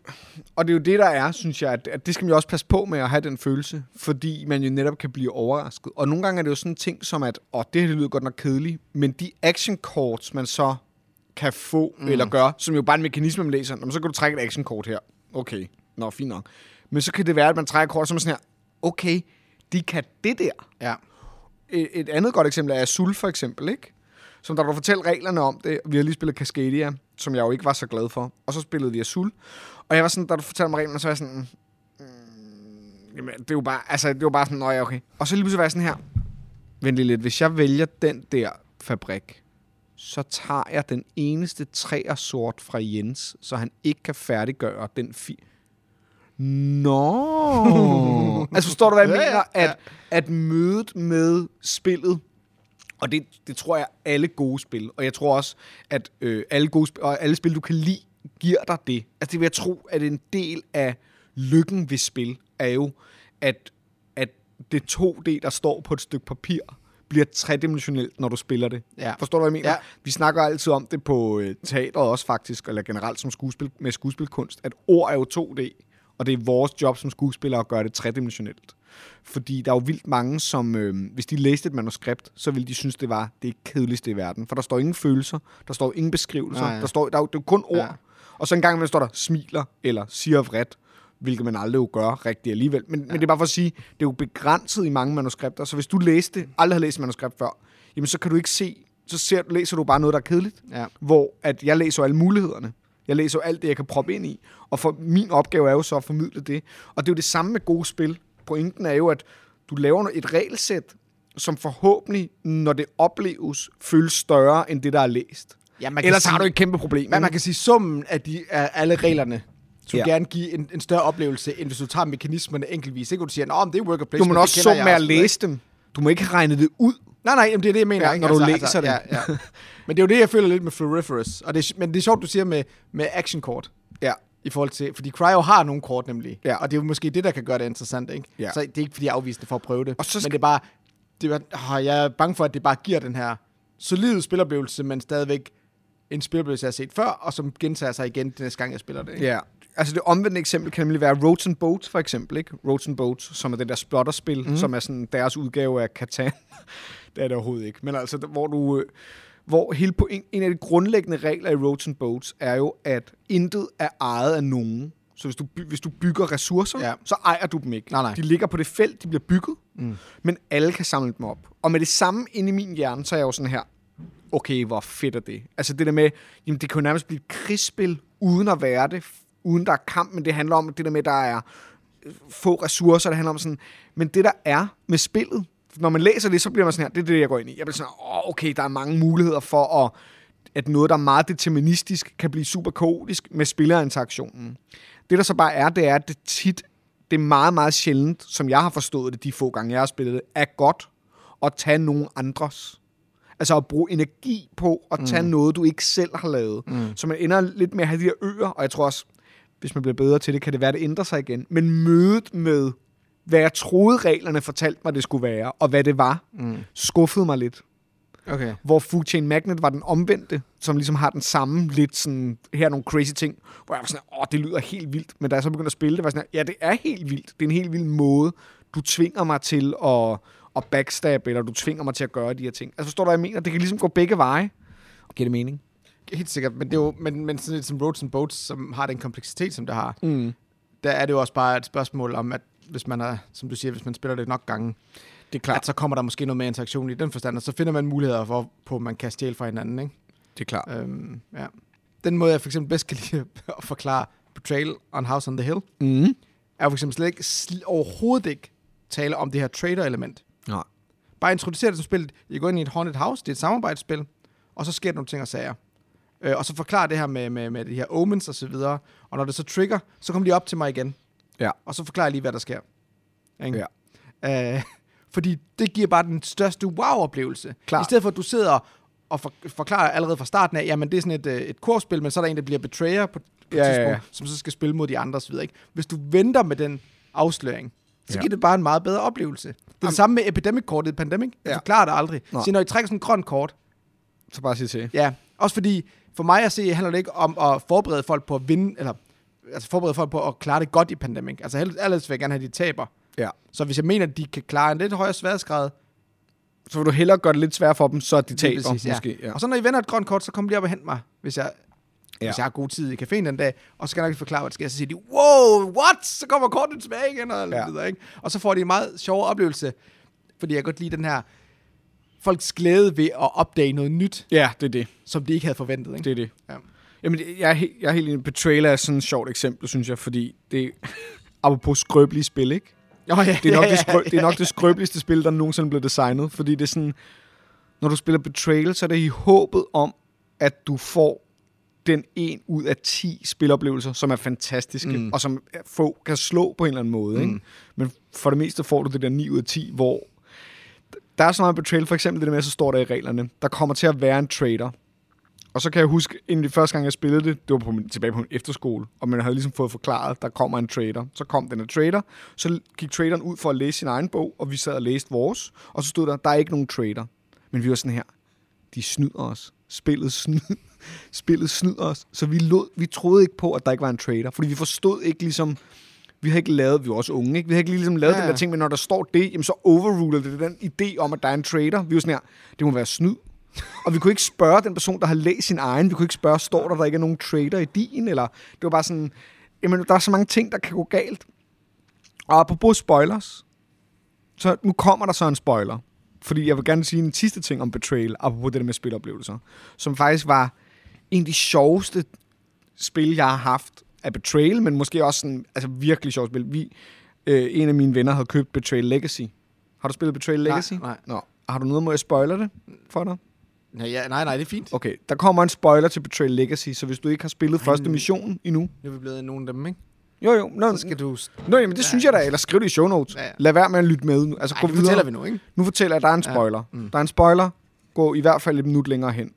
[SPEAKER 2] og det er jo det, der er, synes jeg, at, at det skal man jo også passe på med at have den følelse, fordi man jo netop kan blive overrasket. Og nogle gange er det jo sådan en ting som, at åh, det her det lyder godt nok kedeligt, men de action cards, man så kan få mm. eller gøre, som jo bare er en mekanisme, man læser, Nå, men så kan du trække et action kort her. Okay, nå, fint nok. Men så kan det være, at man trækker kort, som er sådan her, okay, de kan det der
[SPEAKER 1] Ja.
[SPEAKER 2] et, et andet godt eksempel er Azul for eksempel, ikke? Som der du fortalte reglerne om det, vi har lige spillet Cascadia, som jeg jo ikke var så glad for, og så spillede vi Azul. Og jeg var sådan, da du fortalte mig reglerne, så var jeg sådan, mm, jamen, det er jo bare, altså, det var bare sådan, nej, okay. Og så lige pludselig var jeg sådan her, vent lige lidt, hvis jeg vælger den der fabrik, så tager jeg den eneste træer sort fra Jens, så han ikke kan færdiggøre den fi... Nå! altså forstår du, hvad jeg
[SPEAKER 1] Ja, ja,
[SPEAKER 2] mener?
[SPEAKER 1] ja.
[SPEAKER 2] At, at mødet med spillet, og det, det tror jeg er alle gode spil, og jeg tror også, at øh, alle gode spil, og alle spil, du kan lide, giver dig det. Altså det vil jeg tro, at en del af lykken ved spil er jo, at, at det 2D, der står på et stykke papir, bliver tredimensionelt, når du spiller det.
[SPEAKER 1] Ja.
[SPEAKER 2] Forstår du, hvad jeg mener?
[SPEAKER 1] Ja.
[SPEAKER 2] Vi snakker altid om det på øh, teateret også faktisk, eller generelt som skuespil, med skuespilkunst, at ord er jo 2D, og det er vores job som skuespillere at gøre det tredimensionelt. Fordi der er jo vildt mange, som øh, hvis de læste et manuskript, så ville de synes, det var det kedeligste i verden. For der står ingen følelser, der står ingen beskrivelser,
[SPEAKER 1] Nej.
[SPEAKER 2] der står, der er jo, det er jo kun ord.
[SPEAKER 1] Ja.
[SPEAKER 2] Og så en gang imellem står der smiler, eller siger vredt, hvilket man aldrig jo gør rigtigt alligevel. Men, ja. men det er bare for at sige, det er jo begrænset i mange manuskripter, så hvis du læste, aldrig har læst et manuskript før, jamen så kan du ikke se, så ser, læser du bare noget, der er kedeligt.
[SPEAKER 1] Ja.
[SPEAKER 2] Hvor at jeg læser jo alle mulighederne. Jeg læser jo alt det, jeg kan proppe ind i. Og for, min opgave er jo så at formidle det. Og det er jo det samme med gode spil. Pointen er jo, at du laver et regelsæt, som forhåbentlig, når det opleves, føles større end det, der er læst.
[SPEAKER 1] Ja, man
[SPEAKER 2] Man Ellers
[SPEAKER 1] sige,
[SPEAKER 2] har du et kæmpe
[SPEAKER 1] Men
[SPEAKER 2] problem.
[SPEAKER 1] man
[SPEAKER 2] ikke?
[SPEAKER 1] kan sige, summen af, de, af alle reglerne skulle
[SPEAKER 2] Mm. Ja.
[SPEAKER 1] ja. gerne give en, en større oplevelse, end hvis du tager mekanismerne enkeltvis. Ikke, hvor du siger, at det er worker
[SPEAKER 2] du
[SPEAKER 1] placement,
[SPEAKER 2] må
[SPEAKER 1] det
[SPEAKER 2] også
[SPEAKER 1] kender
[SPEAKER 2] summe med
[SPEAKER 1] jeg og
[SPEAKER 2] at
[SPEAKER 1] sådan noget,
[SPEAKER 2] læse dem. Du må ikke regne det ud.
[SPEAKER 1] ikke? Nej, nej, jamen, det er det, jeg mener.
[SPEAKER 2] Ja,
[SPEAKER 1] ikke? Altså,
[SPEAKER 2] når du læser det.
[SPEAKER 1] Ja, ja. Men det er jo det, jeg føler lidt med Floriferous. Og det er, men det er sjovt, du siger med, med actionkort.
[SPEAKER 2] Ja.
[SPEAKER 1] I forhold til, fordi Cryo har nogle kort nemlig.
[SPEAKER 2] Ja.
[SPEAKER 1] Og det er jo måske det, der kan gøre det interessant, ikke?
[SPEAKER 2] Ja.
[SPEAKER 1] Så det er ikke, fordi jeg er afvisende for at prøve det.
[SPEAKER 2] Og så skal-
[SPEAKER 1] Men det er bare, det er, bare- åh, jeg er bange for, at det bare giver den her solide spiloplevelse, men stadigvæk en spiloplevelse, jeg har set før, og som gentager sig igen den næste gang, jeg spiller det. Ikke?
[SPEAKER 2] Ja. Altså det omvendte eksempel kan nemlig være Roads and Boats, for eksempel. Ikke? Roads and Boats, som er det der splotterspil, mm. som er sådan deres udgave af Catan. det er det overhovedet ikke. Men altså, hvor du... øh, Hvor hele point, en af de grundlæggende regler i Roads and Boats er jo, at intet er ejet af nogen. Så hvis du, by- hvis du bygger ressourcer, ja.
[SPEAKER 1] Ja.
[SPEAKER 2] så ejer du dem ikke.
[SPEAKER 1] Nej, nej.
[SPEAKER 2] De ligger på det felt, de bliver bygget, mm. men alle kan samle dem op. Og med det samme inde i min hjerne, så er jeg jo sådan her, okay, hvor fedt er det? Altså det der med, jamen det kan jo nærmest blive et krigsspil, uden at være det, f- uden der er kamp, men det handler om det der med, der er øh, få ressourcer, det handler om sådan, men det der er med spillet, når man læser det, så bliver man sådan her, det er det, jeg går ind i. Jeg bliver sådan, åh, okay, der er mange muligheder for at, at noget, der er meget deterministisk, kan blive super kaotisk med spillerinteraktionen. Det der så bare er, det er, at det tit, det er meget, meget sjældent, som jeg har forstået det de få gange, jeg har spillet det, er godt at tage nogen andres. Altså at bruge energi på at tage mm. noget, du ikke selv har lavet. Mm. Så man ender lidt med at have de der øer, og jeg tror også, hvis man bliver bedre til det, kan det være, det ændrer sig igen. Men mødet med, hvad jeg troede reglerne fortalte mig, det skulle være, og hvad det var, mm. skuffede mig lidt.
[SPEAKER 1] Okay.
[SPEAKER 2] Hvor Food Chain Magnet var den omvendte, som ligesom har den samme lidt sådan, her er nogle crazy ting, hvor jeg var sådan, åh, det lyder helt vildt. Men da jeg så begyndte at spille det, var jeg sådan, ja, det er helt vildt. Det er en helt vild måde, du tvinger mig til at, at backstab, eller du tvinger mig til at gøre de her ting. Altså forstår du, hvad jeg mener? Det kan ligesom gå begge veje. Giver det mening?
[SPEAKER 1] Helt sikkert, men, det er jo, men, men sådan lidt som Roads and Boats, som har den kompleksitet, som det har,
[SPEAKER 2] Mm.
[SPEAKER 1] der er det jo også bare et spørgsmål om, at hvis man er, som du siger, hvis man spiller det nok gange,
[SPEAKER 2] Det er
[SPEAKER 1] at så kommer der måske noget mere interaktion i den forstand, og så finder man muligheder for, på, at man kan stjæle fra hinanden, ikke?
[SPEAKER 2] Det er klart.
[SPEAKER 1] Øhm, ja. Den måde, jeg for eksempel bedst kan lide at forklare Betrayal on House on the Hill,
[SPEAKER 2] Mm.
[SPEAKER 1] er jo for eksempel slet ikke, sl- overhovedet ikke tale om det her trader-element.
[SPEAKER 2] Nej.
[SPEAKER 1] Bare introducere det som spillet. I går ind i et haunted house, det er et samarbejdsspil, og så sker der nogle ting og sager. Øh, og så forklare det her med, med, med de her omens og så videre. Og når det så trigger, så kommer de op til mig igen.
[SPEAKER 2] Ja.
[SPEAKER 1] Og så forklarer jeg lige, hvad der sker. Ikke? Ja. Øh, fordi det giver bare den største wow-oplevelse.
[SPEAKER 2] Klart.
[SPEAKER 1] I stedet for, at du sidder og for, forklarer allerede fra starten af, jamen det er sådan et, øh, et korspil, men så er der en, der bliver betrayer på, på et
[SPEAKER 2] Ja, ja, ja.
[SPEAKER 1] tidspunkt, som så skal spille mod de andre osv. Ikke? Hvis du venter med den afsløring, så
[SPEAKER 2] Ja.
[SPEAKER 1] ja. giver det bare en meget bedre oplevelse. Det er
[SPEAKER 2] Jamen-
[SPEAKER 1] det samme med Epidemic-kortet i Pandemic. Jeg
[SPEAKER 2] Ja.
[SPEAKER 1] forklarer det aldrig.
[SPEAKER 2] Nej.
[SPEAKER 1] Så når I trækker sådan en grøn kort,
[SPEAKER 2] Så bare sig til.
[SPEAKER 1] ja, også fordi for mig at se, handler det ikke om at forberede folk på at vinde, eller altså forberede folk på at klare det godt i Pandemic. Altså helst, ellers vil jeg gerne have, at de taber.
[SPEAKER 2] Ja.
[SPEAKER 1] Så hvis jeg mener, at de kan klare en lidt højere sværdesgrad,
[SPEAKER 2] Så vil du hellere gøre det lidt sværere for dem, så de
[SPEAKER 1] Lige
[SPEAKER 2] taber
[SPEAKER 1] præcis, ja.
[SPEAKER 2] måske. Ja.
[SPEAKER 1] Og så når I vender et grønt kort, så kom lige op og hent mig, hvis jeg,
[SPEAKER 2] Ja.
[SPEAKER 1] ja. hvis jeg har god tid i caféen den dag. Og så skal jeg nok lige forklare, hvad der sker. Så siger de, wow, what? Så kommer kortet tilbage igen. Og,
[SPEAKER 2] Ja.
[SPEAKER 1] ja. videre, ikke? og så får de en meget sjov oplevelse. Fordi jeg kan godt lide den her folks glæde ved at opdage noget nyt,
[SPEAKER 2] ja, det er det.
[SPEAKER 1] som de ikke havde forventet. Ikke?
[SPEAKER 2] Det er det.
[SPEAKER 1] Ja.
[SPEAKER 2] Jamen, det- jeg er, he- jeg er helt enig. Betrayal er sådan et sjovt eksempel, synes jeg, fordi det apropos skrøbelige spil, ikke?
[SPEAKER 1] Oh, ja,
[SPEAKER 2] Det er nok,
[SPEAKER 1] ja,
[SPEAKER 2] det,
[SPEAKER 1] ja,
[SPEAKER 2] skrø- det, er nok det skrøbeligste spil, der nogensinde blev designet, fordi det er sådan, når du spiller Betrayal, så er det i håbet om, at du får den en ud af 10 spiloplevelser, som er fantastiske, mm. og som få kan slå på en eller anden måde. Mm. Ikke? Men for det meste får du det der 9 ud af 10, hvor der er så meget betrayal, for eksempel det der med, så står der i reglerne, der kommer til at være en trader. Og så kan jeg huske, inden de første gang, jeg spillede det, det var på min, tilbage på min efterskole, og man havde ligesom fået forklaret, der kommer en trader. Så kom den her trader, så gik traderen ud for at læse sin egen bog, og vi sad og læste vores, og så stod der, der er ikke nogen trader. Men vi var sådan her, de snyder os. Spillet, snyd, spillet snyder os. Så vi, lod, vi troede ikke på, at der ikke var en trader, fordi vi forstod ikke ligesom, vi har ikke lavet, vi var også unge, ikke? vi har ikke ligesom lavet ja.
[SPEAKER 1] Ja,
[SPEAKER 2] den
[SPEAKER 1] ja.
[SPEAKER 2] der ting, men når der står det, jamen så overruler det den idé om, at der er en trader. Vi var sådan her, det må være snyd. og vi kunne ikke spørge den person, der har læst sin egen, vi kunne ikke spørge, står der, der ikke er nogen trader i din, eller det var bare sådan, jamen der er så mange ting, der kan gå galt. Og apropos spoilers, så nu kommer der så en spoiler. Fordi jeg vil gerne sige en sidste ting om Betrayal, apropos det der med spiloplevelser, som faktisk var en af de sjoveste spil, jeg har haft af Betrayal, men måske også sådan, altså virkelig sjovt spil. Vi, øh, en af mine venner havde købt Betrayal Legacy, Har du spillet Betrayal Legacy?
[SPEAKER 1] Nej, nej.
[SPEAKER 2] Nå. Har du noget, må jeg spoiler det for dig?
[SPEAKER 1] Nej, ja, nej, nej, det er fint.
[SPEAKER 2] Okay, der kommer en spoiler til Betrayal Legacy, så hvis du ikke har spillet første mission endnu...
[SPEAKER 1] Nu er vi blevet nogen af dem, ikke?
[SPEAKER 2] Jo, jo. Nå,
[SPEAKER 1] Så skal du...
[SPEAKER 2] nå jamen, det ja. synes jeg da. Eller skriv det i show notes.
[SPEAKER 1] Ja,
[SPEAKER 2] Ja,
[SPEAKER 1] ja.
[SPEAKER 2] ja. Lad være med at lytte med. nu. Altså,
[SPEAKER 1] Ej,
[SPEAKER 2] gå
[SPEAKER 1] det
[SPEAKER 2] videre.
[SPEAKER 1] fortæller vi nu, ikke?
[SPEAKER 2] Nu fortæller jeg, at der er en
[SPEAKER 1] Ja.
[SPEAKER 2] spoiler. Ja.
[SPEAKER 1] Mm.
[SPEAKER 2] Mm. Der er en spoiler. Gå i hvert fald et minut længere hen.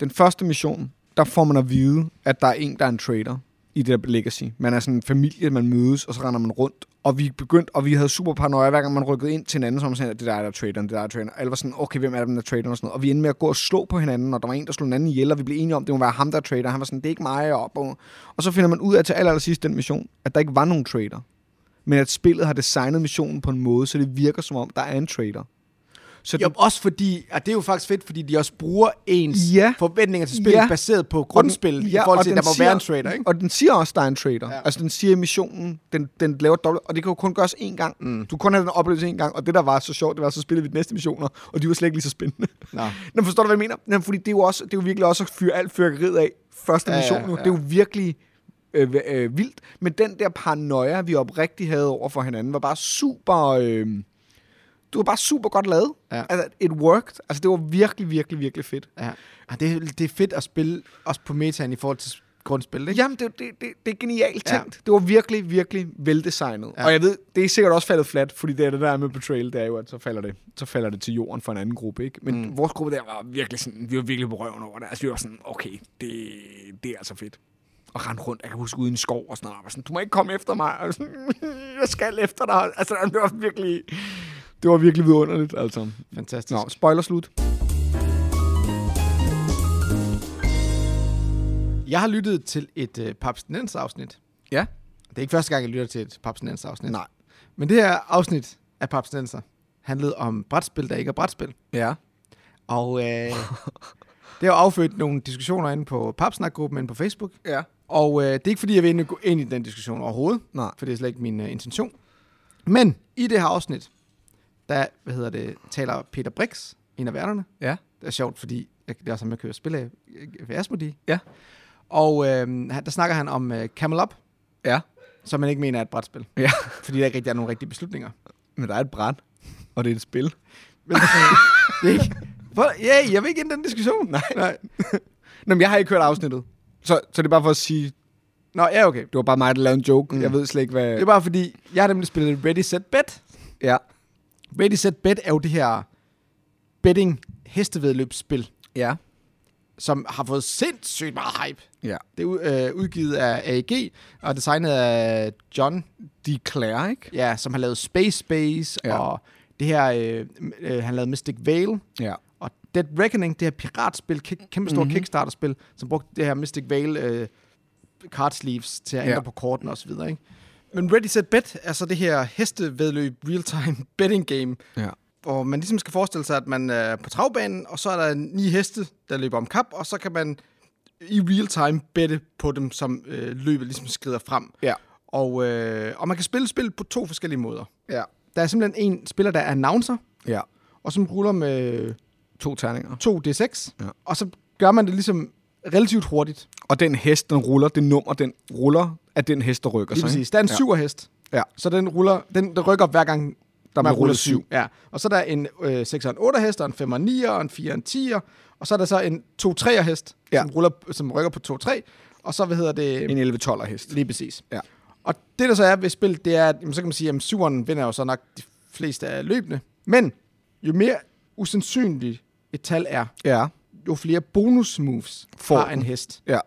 [SPEAKER 2] Den første mission, der får man at vide, at der er en, der er en trader i det der legacy. Man er sådan en familie, man mødes, og så render man rundt. Og vi begyndte, og vi havde super paranoia, hver gang man rykkede ind til hinanden, så var man sådan, at det der er der er traderen, det der er traderen. Alle var sådan, okay, hvem er der, der er traderen og sådan noget. Og vi endte med at gå og slå på hinanden, og der var en, der slog en anden ihjel, og vi blev enige om, det må være ham, der er trader. Han var sådan, det er ikke mig, og, og, og så finder man ud af til aller, aller sidst den mission, at der ikke var nogen trader. Men at spillet har designet missionen på en måde, så det virker som om, der er en trader. Så
[SPEAKER 1] Jo, også fordi, og det er jo faktisk fedt, fordi de også bruger ens
[SPEAKER 2] Ja.
[SPEAKER 1] forventninger til spillet,
[SPEAKER 2] Ja.
[SPEAKER 1] baseret på
[SPEAKER 2] Og den-
[SPEAKER 1] grundspillet, i forhold
[SPEAKER 2] og
[SPEAKER 1] til, at
[SPEAKER 2] den
[SPEAKER 1] der må være en trader, ikke?
[SPEAKER 2] Og den siger også, der er en trader.
[SPEAKER 1] Ja.
[SPEAKER 2] Ja. Altså, den siger i missionen, den, den laver dobbelt, og det kan jo kun gøres én gang. Mm. Du kan kun have den oplevelse én gang, og det, der var så sjovt, det var, så spillede vi de næste missioner, og de var slet ikke lige så spændende.
[SPEAKER 1] Nå.
[SPEAKER 2] Nå, forstår du, hvad jeg mener? Nå, fordi det er jo, også, det er jo virkelig også at fyre alt fyrkeriet af første
[SPEAKER 1] Ja, ja,
[SPEAKER 2] mission nu.
[SPEAKER 1] ja.
[SPEAKER 2] Det er jo virkelig øh, øh, vildt. Men den der paranoia, vi oprigtigt havde over for hinanden, var bare super... Øh, du var bare super godt lavet.
[SPEAKER 1] Ja.
[SPEAKER 2] Altså, it worked. Altså, det var virkelig, virkelig, virkelig fedt.
[SPEAKER 1] Ja. Ah, det, er- det er fedt at spille også på metaen i forhold til grundspillet, ikke?
[SPEAKER 2] Jamen, det, det, det, det er genialt
[SPEAKER 1] Ja.
[SPEAKER 2] tænkt. Det var virkelig, virkelig veldesignet.
[SPEAKER 1] Ja.
[SPEAKER 2] Ja. Og jeg ved, det er sikkert også faldet flat, fordi det er det der er med Betrayal, det er jo, at så falder det, så falder det til jorden for en anden gruppe, ikke? Men
[SPEAKER 1] Mm.
[SPEAKER 2] mm. vores gruppe der var virkelig sådan, vi var virkelig på røven over det. Altså, vi var sådan, okay, det, det er altså fedt. Og rende rundt, jeg kan huske, ude i en skov og sådan noget. Og sådan, du må ikke komme efter mig. Og sådan, jeg skal efter dig. Altså, det var virkelig, det var virkelig vidunderligt, altså.
[SPEAKER 1] Fantastisk.
[SPEAKER 2] Nå, spoiler slut.
[SPEAKER 1] Jeg har lyttet til et øh, Papstinens-afsnit.
[SPEAKER 2] Ja.
[SPEAKER 1] Det er ikke første gang, jeg lytter til et Papstinens-afsnit.
[SPEAKER 2] Nej.
[SPEAKER 1] Men det her afsnit af Papstinenser handlede om brætspil, der ikke er brætspil.
[SPEAKER 2] Ja.
[SPEAKER 1] Og øh, det har affødt nogle diskussioner inde på Papsnak-gruppen inde på Facebook.
[SPEAKER 2] Ja.
[SPEAKER 1] Og øh, det er ikke, fordi jeg vil ind- gå ind i den diskussion overhovedet,
[SPEAKER 2] Nej.
[SPEAKER 1] for det er slet ikke min øh, intention. Men i det her afsnit, der hvad hedder det, taler Peter Brix, en af værterne.
[SPEAKER 2] Ja.
[SPEAKER 1] Det er sjovt, fordi jeg, det er også ham, jeg kører spil af øh, ved Asmodee.
[SPEAKER 2] Ja.
[SPEAKER 1] Og øh, han- der snakker han om øh, Camel Up,
[SPEAKER 2] Ja.
[SPEAKER 1] som man ikke mener er et brætspil.
[SPEAKER 2] Ja.
[SPEAKER 1] Fordi der ikke rigtig er nogen rigtige beslutninger.
[SPEAKER 2] Men der er et brand, og det er et spil.
[SPEAKER 1] Men, øh, det er ikke... Hvor- Ja, yeah, jeg vil ikke ind i den diskussion. Nej. Nej.
[SPEAKER 2] Nå, men jeg har ikke hørt afsnittet. Så, så det er bare for at sige,
[SPEAKER 1] Nå, ja, okay.
[SPEAKER 2] det var bare mig, der lavede en joke.
[SPEAKER 1] Mm.
[SPEAKER 2] Mm. Jeg ved slet ikke, hvad...
[SPEAKER 1] Det er bare fordi, jeg har nemlig spillet Ready, Set, Bet.
[SPEAKER 2] Ja.
[SPEAKER 1] Ready, Set, Bet er jo det her betting hestevedløbsspil,
[SPEAKER 2] Ja.
[SPEAKER 1] som har fået sindssygt meget hype.
[SPEAKER 2] Ja.
[SPEAKER 1] Det er ud- øh, udgivet af AEG og designet af John,
[SPEAKER 2] De klæder, ikke?
[SPEAKER 1] ja, som har lavet Space Space, ja.
[SPEAKER 2] Ja.
[SPEAKER 1] og det her, øh, øh, han lavede Mystic Veil,
[SPEAKER 2] Ja.
[SPEAKER 1] og Dead Reckoning, det her piratspil, kæ- kæmpe store mm-hmm.
[SPEAKER 2] Mhm.
[SPEAKER 1] Kickstarter-spil, som brugte det her Mystic Veil øh, card sleeves til at ændre
[SPEAKER 2] Ja.
[SPEAKER 1] på kortene og så videre, ikke? Men Ready Set Bet er så det her hestevedløb real-time betting game,
[SPEAKER 2] Ja.
[SPEAKER 1] hvor man ligesom skal forestille sig, at man er på travbanen, og så er der ni heste, der løber om kap, og så kan man i real-time bette på dem, som øh, løbet ligesom skrider frem.
[SPEAKER 2] Ja.
[SPEAKER 1] Og, øh, og man kan spille spillet på to forskellige måder.
[SPEAKER 2] Ja.
[SPEAKER 1] Der er simpelthen en spiller, der er announcer,
[SPEAKER 2] Ja.
[SPEAKER 1] og som ruller med
[SPEAKER 2] To terninger.
[SPEAKER 1] to D6, ja.
[SPEAKER 2] Ja.
[SPEAKER 1] og så gør man det ligesom relativt hurtigt.
[SPEAKER 2] Og den hest, den ruller, det nummer, den ruller, at den hest, der rykker
[SPEAKER 1] Lige
[SPEAKER 2] sig.
[SPEAKER 1] præcis. Der er en
[SPEAKER 2] Ja.
[SPEAKER 1] syverhest,
[SPEAKER 2] Ja.
[SPEAKER 1] så den ruller, den, den rykker op hver gang,
[SPEAKER 2] Der
[SPEAKER 1] man
[SPEAKER 2] bliver
[SPEAKER 1] ruller
[SPEAKER 2] rullet
[SPEAKER 1] syv.
[SPEAKER 2] syv.
[SPEAKER 1] Ja. Og så er der en øh, 6 og en 8 hest, og en 5 og 9 og en 4 og en 10 og så er der så en 2 3 hest, ja.
[SPEAKER 2] Ja.
[SPEAKER 1] som, ruller, som rykker på 2 3, og så, hvad hedder det?
[SPEAKER 2] En 11-12'er hest.
[SPEAKER 1] Lige præcis.
[SPEAKER 2] Ja.
[SPEAKER 1] Og det, der så er ved spillet, det er, at jamen, så kan man sige, at syveren vinder jo så nok de fleste af løbende. Men jo mere usandsynligt et tal er,
[SPEAKER 2] Ja.
[SPEAKER 1] jo flere bonus moves
[SPEAKER 2] Får
[SPEAKER 1] har
[SPEAKER 2] den.
[SPEAKER 1] en hest.
[SPEAKER 2] Ja.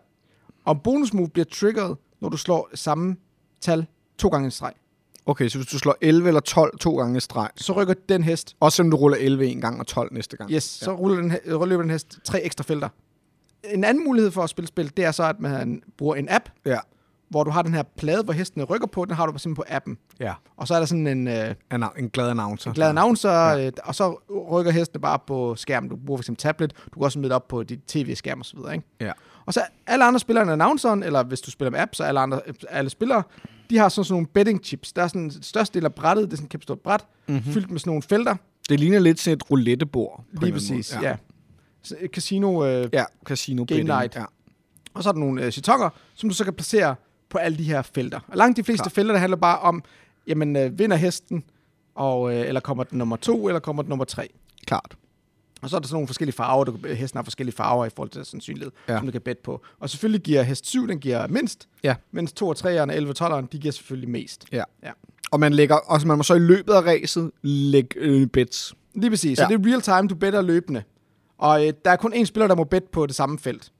[SPEAKER 1] Og en bonus move bliver triggeret, når du slår samme tal to gange i streg.
[SPEAKER 2] Okay, så hvis du slår 11 eller 12 to gange i streg,
[SPEAKER 1] Så rykker den hest,
[SPEAKER 2] også selvom du ruller 11 en gang og 12 næste gang.
[SPEAKER 1] yes, ja. så ruller den, he- øh, løber den hest tre ekstra felter. En anden mulighed for at spille spil, det er så, at man bruger en app,
[SPEAKER 2] Ja.
[SPEAKER 1] hvor du har den her plade, hvor hestene rykker på, den har du simpelthen på appen.
[SPEAKER 2] Ja.
[SPEAKER 1] Og så er der sådan en øh,
[SPEAKER 2] Anna- en glad announcer.
[SPEAKER 1] glad announcer, ja. øh, og så rykker hestene bare på skærmen. Du bruger for eksempel tablet, du kan også smide det op på dit tv-skærm osv. Ikke?
[SPEAKER 2] Ja.
[SPEAKER 1] Og så alle andre spillere end announceren, eller hvis du spiller med app, så alle, andre, alle spillere, de har sådan, sådan nogle betting chips. Der er sådan største del af brættet, det er sådan et kæmpe stort bræt,
[SPEAKER 2] Mhm.
[SPEAKER 1] mm-hmm. fyldt med sådan nogle felter.
[SPEAKER 2] Det ligner lidt sådan et roulettebord. på en eller
[SPEAKER 1] Lige
[SPEAKER 2] anden
[SPEAKER 1] præcis, ja.
[SPEAKER 2] måde.
[SPEAKER 1] ja. Så et casino, øh, ja.
[SPEAKER 2] Ja, casino betting.
[SPEAKER 1] night.
[SPEAKER 2] Ja.
[SPEAKER 1] og så er der nogle øh, chitonger, som du så kan placere på alle de her felter. Og langt de fleste Klar. felter, der handler bare om, jamen øh, vinder hesten, Og, øh, eller kommer den nummer to, eller kommer den nummer tre.
[SPEAKER 2] Klart.
[SPEAKER 1] Og så er der sådan nogle forskellige farver. Du kan, hesten har forskellige farver i forhold til sandsynlighed,
[SPEAKER 2] Ja.
[SPEAKER 1] ja. som du kan bette på. Og selvfølgelig giver hest 7, den giver mindst.
[SPEAKER 2] Ja.
[SPEAKER 1] Mens 2 og 3'eren og 11 og 12'eren, de giver selvfølgelig mest.
[SPEAKER 2] Og man lægger, og så man må så i løbet af ræset lægge øh, bets.
[SPEAKER 1] Lige præcis. Ja.
[SPEAKER 2] Ja.
[SPEAKER 1] Så det er real time, du better løbende. Og øh, der er kun én spiller, der må bette på det samme felt.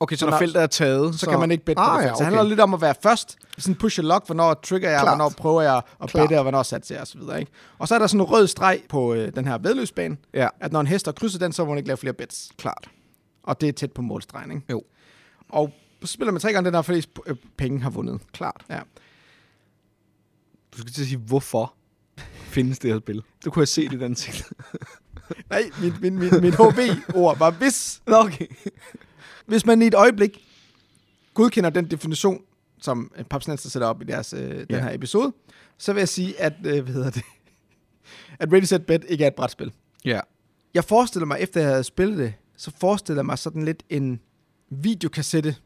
[SPEAKER 2] Okay, så,
[SPEAKER 1] Så
[SPEAKER 2] når
[SPEAKER 1] når-
[SPEAKER 2] feltet er taget,
[SPEAKER 1] Så, så kan man ikke bette på
[SPEAKER 2] ah,
[SPEAKER 1] det
[SPEAKER 2] ja,
[SPEAKER 1] felt.
[SPEAKER 2] okay.
[SPEAKER 1] Så det handler lidt om at være først. Sådan push and lock, hvornår trigger jeg,
[SPEAKER 2] Klart.
[SPEAKER 1] hvornår prøver jeg at
[SPEAKER 2] Klart.
[SPEAKER 1] bette, og hvornår satser jeg osv. Ikke? Og så er der sådan en rød streg på øh, den her vedløbsbane,
[SPEAKER 2] Ja,
[SPEAKER 1] at når en hest har krydset den, så må man ikke lave flere bets.
[SPEAKER 2] klart.
[SPEAKER 1] Og det er tæt på målstregen, ikke?
[SPEAKER 2] Jo.
[SPEAKER 1] Og så spiller man tre gange den her, fordi øh, penge har vundet.
[SPEAKER 2] Klart.
[SPEAKER 1] Ja.
[SPEAKER 2] Du skal til at sige, hvorfor findes det her spil? Du kunne have set i den ting.
[SPEAKER 1] Nej, min, min, min, min HB-ord var hvis.
[SPEAKER 2] Nå, okay.
[SPEAKER 1] Hvis man i et øjeblik godkender den definition, som øh, Paps Nansen sætter op i deres, øh, den
[SPEAKER 2] Ja.
[SPEAKER 1] her episode, så vil jeg sige, at, øh, hvad hedder det, at Ready Set Bet ikke er et brætspil.
[SPEAKER 2] Ja.
[SPEAKER 1] Jeg forestiller mig, efter jeg havde spillet det, så forestiller jeg mig sådan lidt en videokassette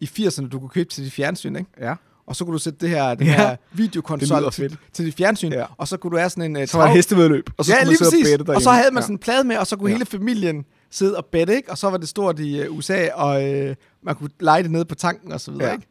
[SPEAKER 1] i 80'erne, du kunne købe til dit fjernsyn, ikke?
[SPEAKER 2] Ja.
[SPEAKER 1] Og så kunne du sætte det her, den
[SPEAKER 2] Ja.
[SPEAKER 1] ja. her
[SPEAKER 2] Det lyder
[SPEAKER 1] videokonsol til, til dit fjernsyn,
[SPEAKER 2] Ja.
[SPEAKER 1] ja. og så kunne du have sådan en... Uh,
[SPEAKER 2] Så var det hestevedløb, og så
[SPEAKER 1] ja,
[SPEAKER 2] skulle
[SPEAKER 1] lige
[SPEAKER 2] man sidde og
[SPEAKER 1] præcis.
[SPEAKER 2] bette
[SPEAKER 1] Og, og så
[SPEAKER 2] derhjemme.
[SPEAKER 1] havde man
[SPEAKER 2] Ja.
[SPEAKER 1] sådan en plade med, og så kunne
[SPEAKER 2] Ja.
[SPEAKER 1] hele familien sidde og bette, ikke? Og så var det stort i øh, USA, og øh, man kunne lege det nede på tanken og så videre,
[SPEAKER 2] Ja.
[SPEAKER 1] ja. ikke?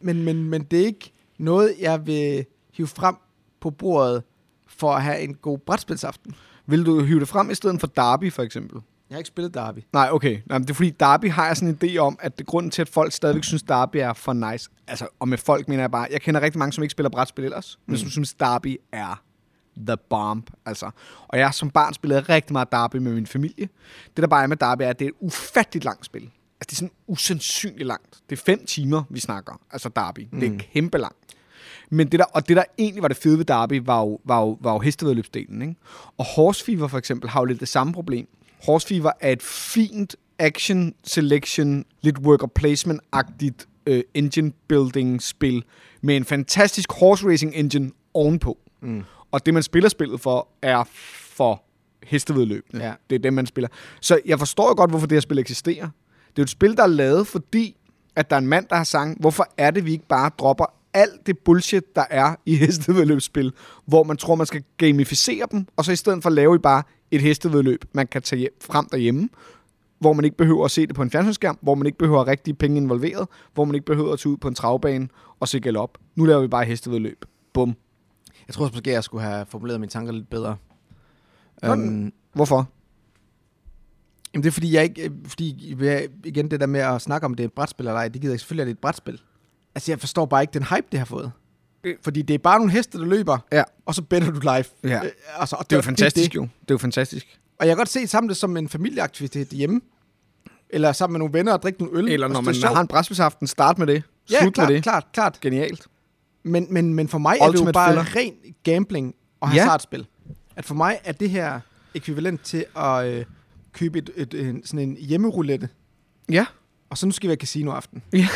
[SPEAKER 1] Men, men, men det er ikke noget, jeg vil hive frem på bordet for at have en god brætspilsaften.
[SPEAKER 2] Vil du hive det frem i stedet for Derby, for eksempel?
[SPEAKER 1] Jeg har ikke spillet Derby.
[SPEAKER 2] Nej, okay. Nej, men det er fordi, Derby har jeg sådan en idé om, at det grunden til, at folk stadigvæk synes, Derby er for nice. Altså, og med folk mener jeg bare, jeg kender rigtig mange, som ikke spiller brætspil ellers, mm. men som synes, Derby er the bomb, altså. Og jeg som barn spillede rigtig meget Derby med min familie. Det, der bare er med Derby, er, at det er et ufatteligt langt spil. Altså, det er sådan usandsynligt langt. Det er fem timer, vi snakker, altså Derby. Mm. Det er kæmpe langt. Men det der, og det der egentlig var det fede ved Derby, var jo, var jo, var jo hestevedløbsdelen. Ikke? Og Horse Fever for eksempel har jo lidt det samme problem. Horse Fever er et fint action selection, lidt worker placement-agtigt øh, engine building spil med en fantastisk horse racing engine ovenpå. Mm. Og det man spiller spillet for er for hestevedløbene.
[SPEAKER 1] Ja.
[SPEAKER 2] Det er det man spiller. Så jeg forstår jo godt hvorfor det her spil eksisterer. Det er jo et spil der er lavet fordi at der er en mand, der har sang, hvorfor er det, vi ikke bare dropper alt det bullshit, der er i hestevedløbsspil, hvor man tror, man skal gamificere dem, og så i stedet for laver I bare et hestevedløb, man kan tage hjem, frem derhjemme, hvor man ikke behøver at se det på en fjernsynsskærm, hvor man ikke behøver rigtige penge involveret, hvor man ikke behøver at tage ud på en travbane og se galop. Nu laver vi bare hestevedløb. Bum.
[SPEAKER 1] Jeg tror også måske, jeg skulle have formuleret mine tanker lidt bedre.
[SPEAKER 2] Nå,
[SPEAKER 1] Øhm,
[SPEAKER 2] Hvorfor?
[SPEAKER 1] jamen det er fordi, jeg ikke... øh, Fordi jeg, igen, det der med at snakke om, det er et brætspil eller ej, det gider jeg selvfølgelig, at det er et brætspil. Altså, jeg forstår bare ikke den hype, det har fået.
[SPEAKER 2] Det-
[SPEAKER 1] Fordi det er bare nogle heste, der løber,
[SPEAKER 2] Ja.
[SPEAKER 1] og så better du live.
[SPEAKER 2] Ja.
[SPEAKER 1] Øh, altså, og det.
[SPEAKER 2] Det er jo
[SPEAKER 1] Mm,
[SPEAKER 2] fantastisk, jo. Det er jo fantastisk.
[SPEAKER 1] Og jeg kan godt se sammen det som en familieaktivitet hjemme. Eller sammen med nogle venner og drikke nogle øl.
[SPEAKER 2] Eller
[SPEAKER 1] Og
[SPEAKER 2] når
[SPEAKER 1] altså, det er
[SPEAKER 2] man
[SPEAKER 1] sjovt.
[SPEAKER 2] har en brætspilsaften, start med det. Slut
[SPEAKER 1] ja, klart,
[SPEAKER 2] med det.
[SPEAKER 1] klart, klart.
[SPEAKER 2] Genialt.
[SPEAKER 1] Men, men, men for mig er det
[SPEAKER 2] Ultimate
[SPEAKER 1] jo bare
[SPEAKER 2] thriller.
[SPEAKER 1] ren gambling og
[SPEAKER 2] Ja.
[SPEAKER 1] hasardspil. At for mig er det her ekvivalent til at øh, købe et, et, en, sådan en hjemmeroulette.
[SPEAKER 2] Ja.
[SPEAKER 1] Og så nu skal vi have casinoaften.
[SPEAKER 2] Ja.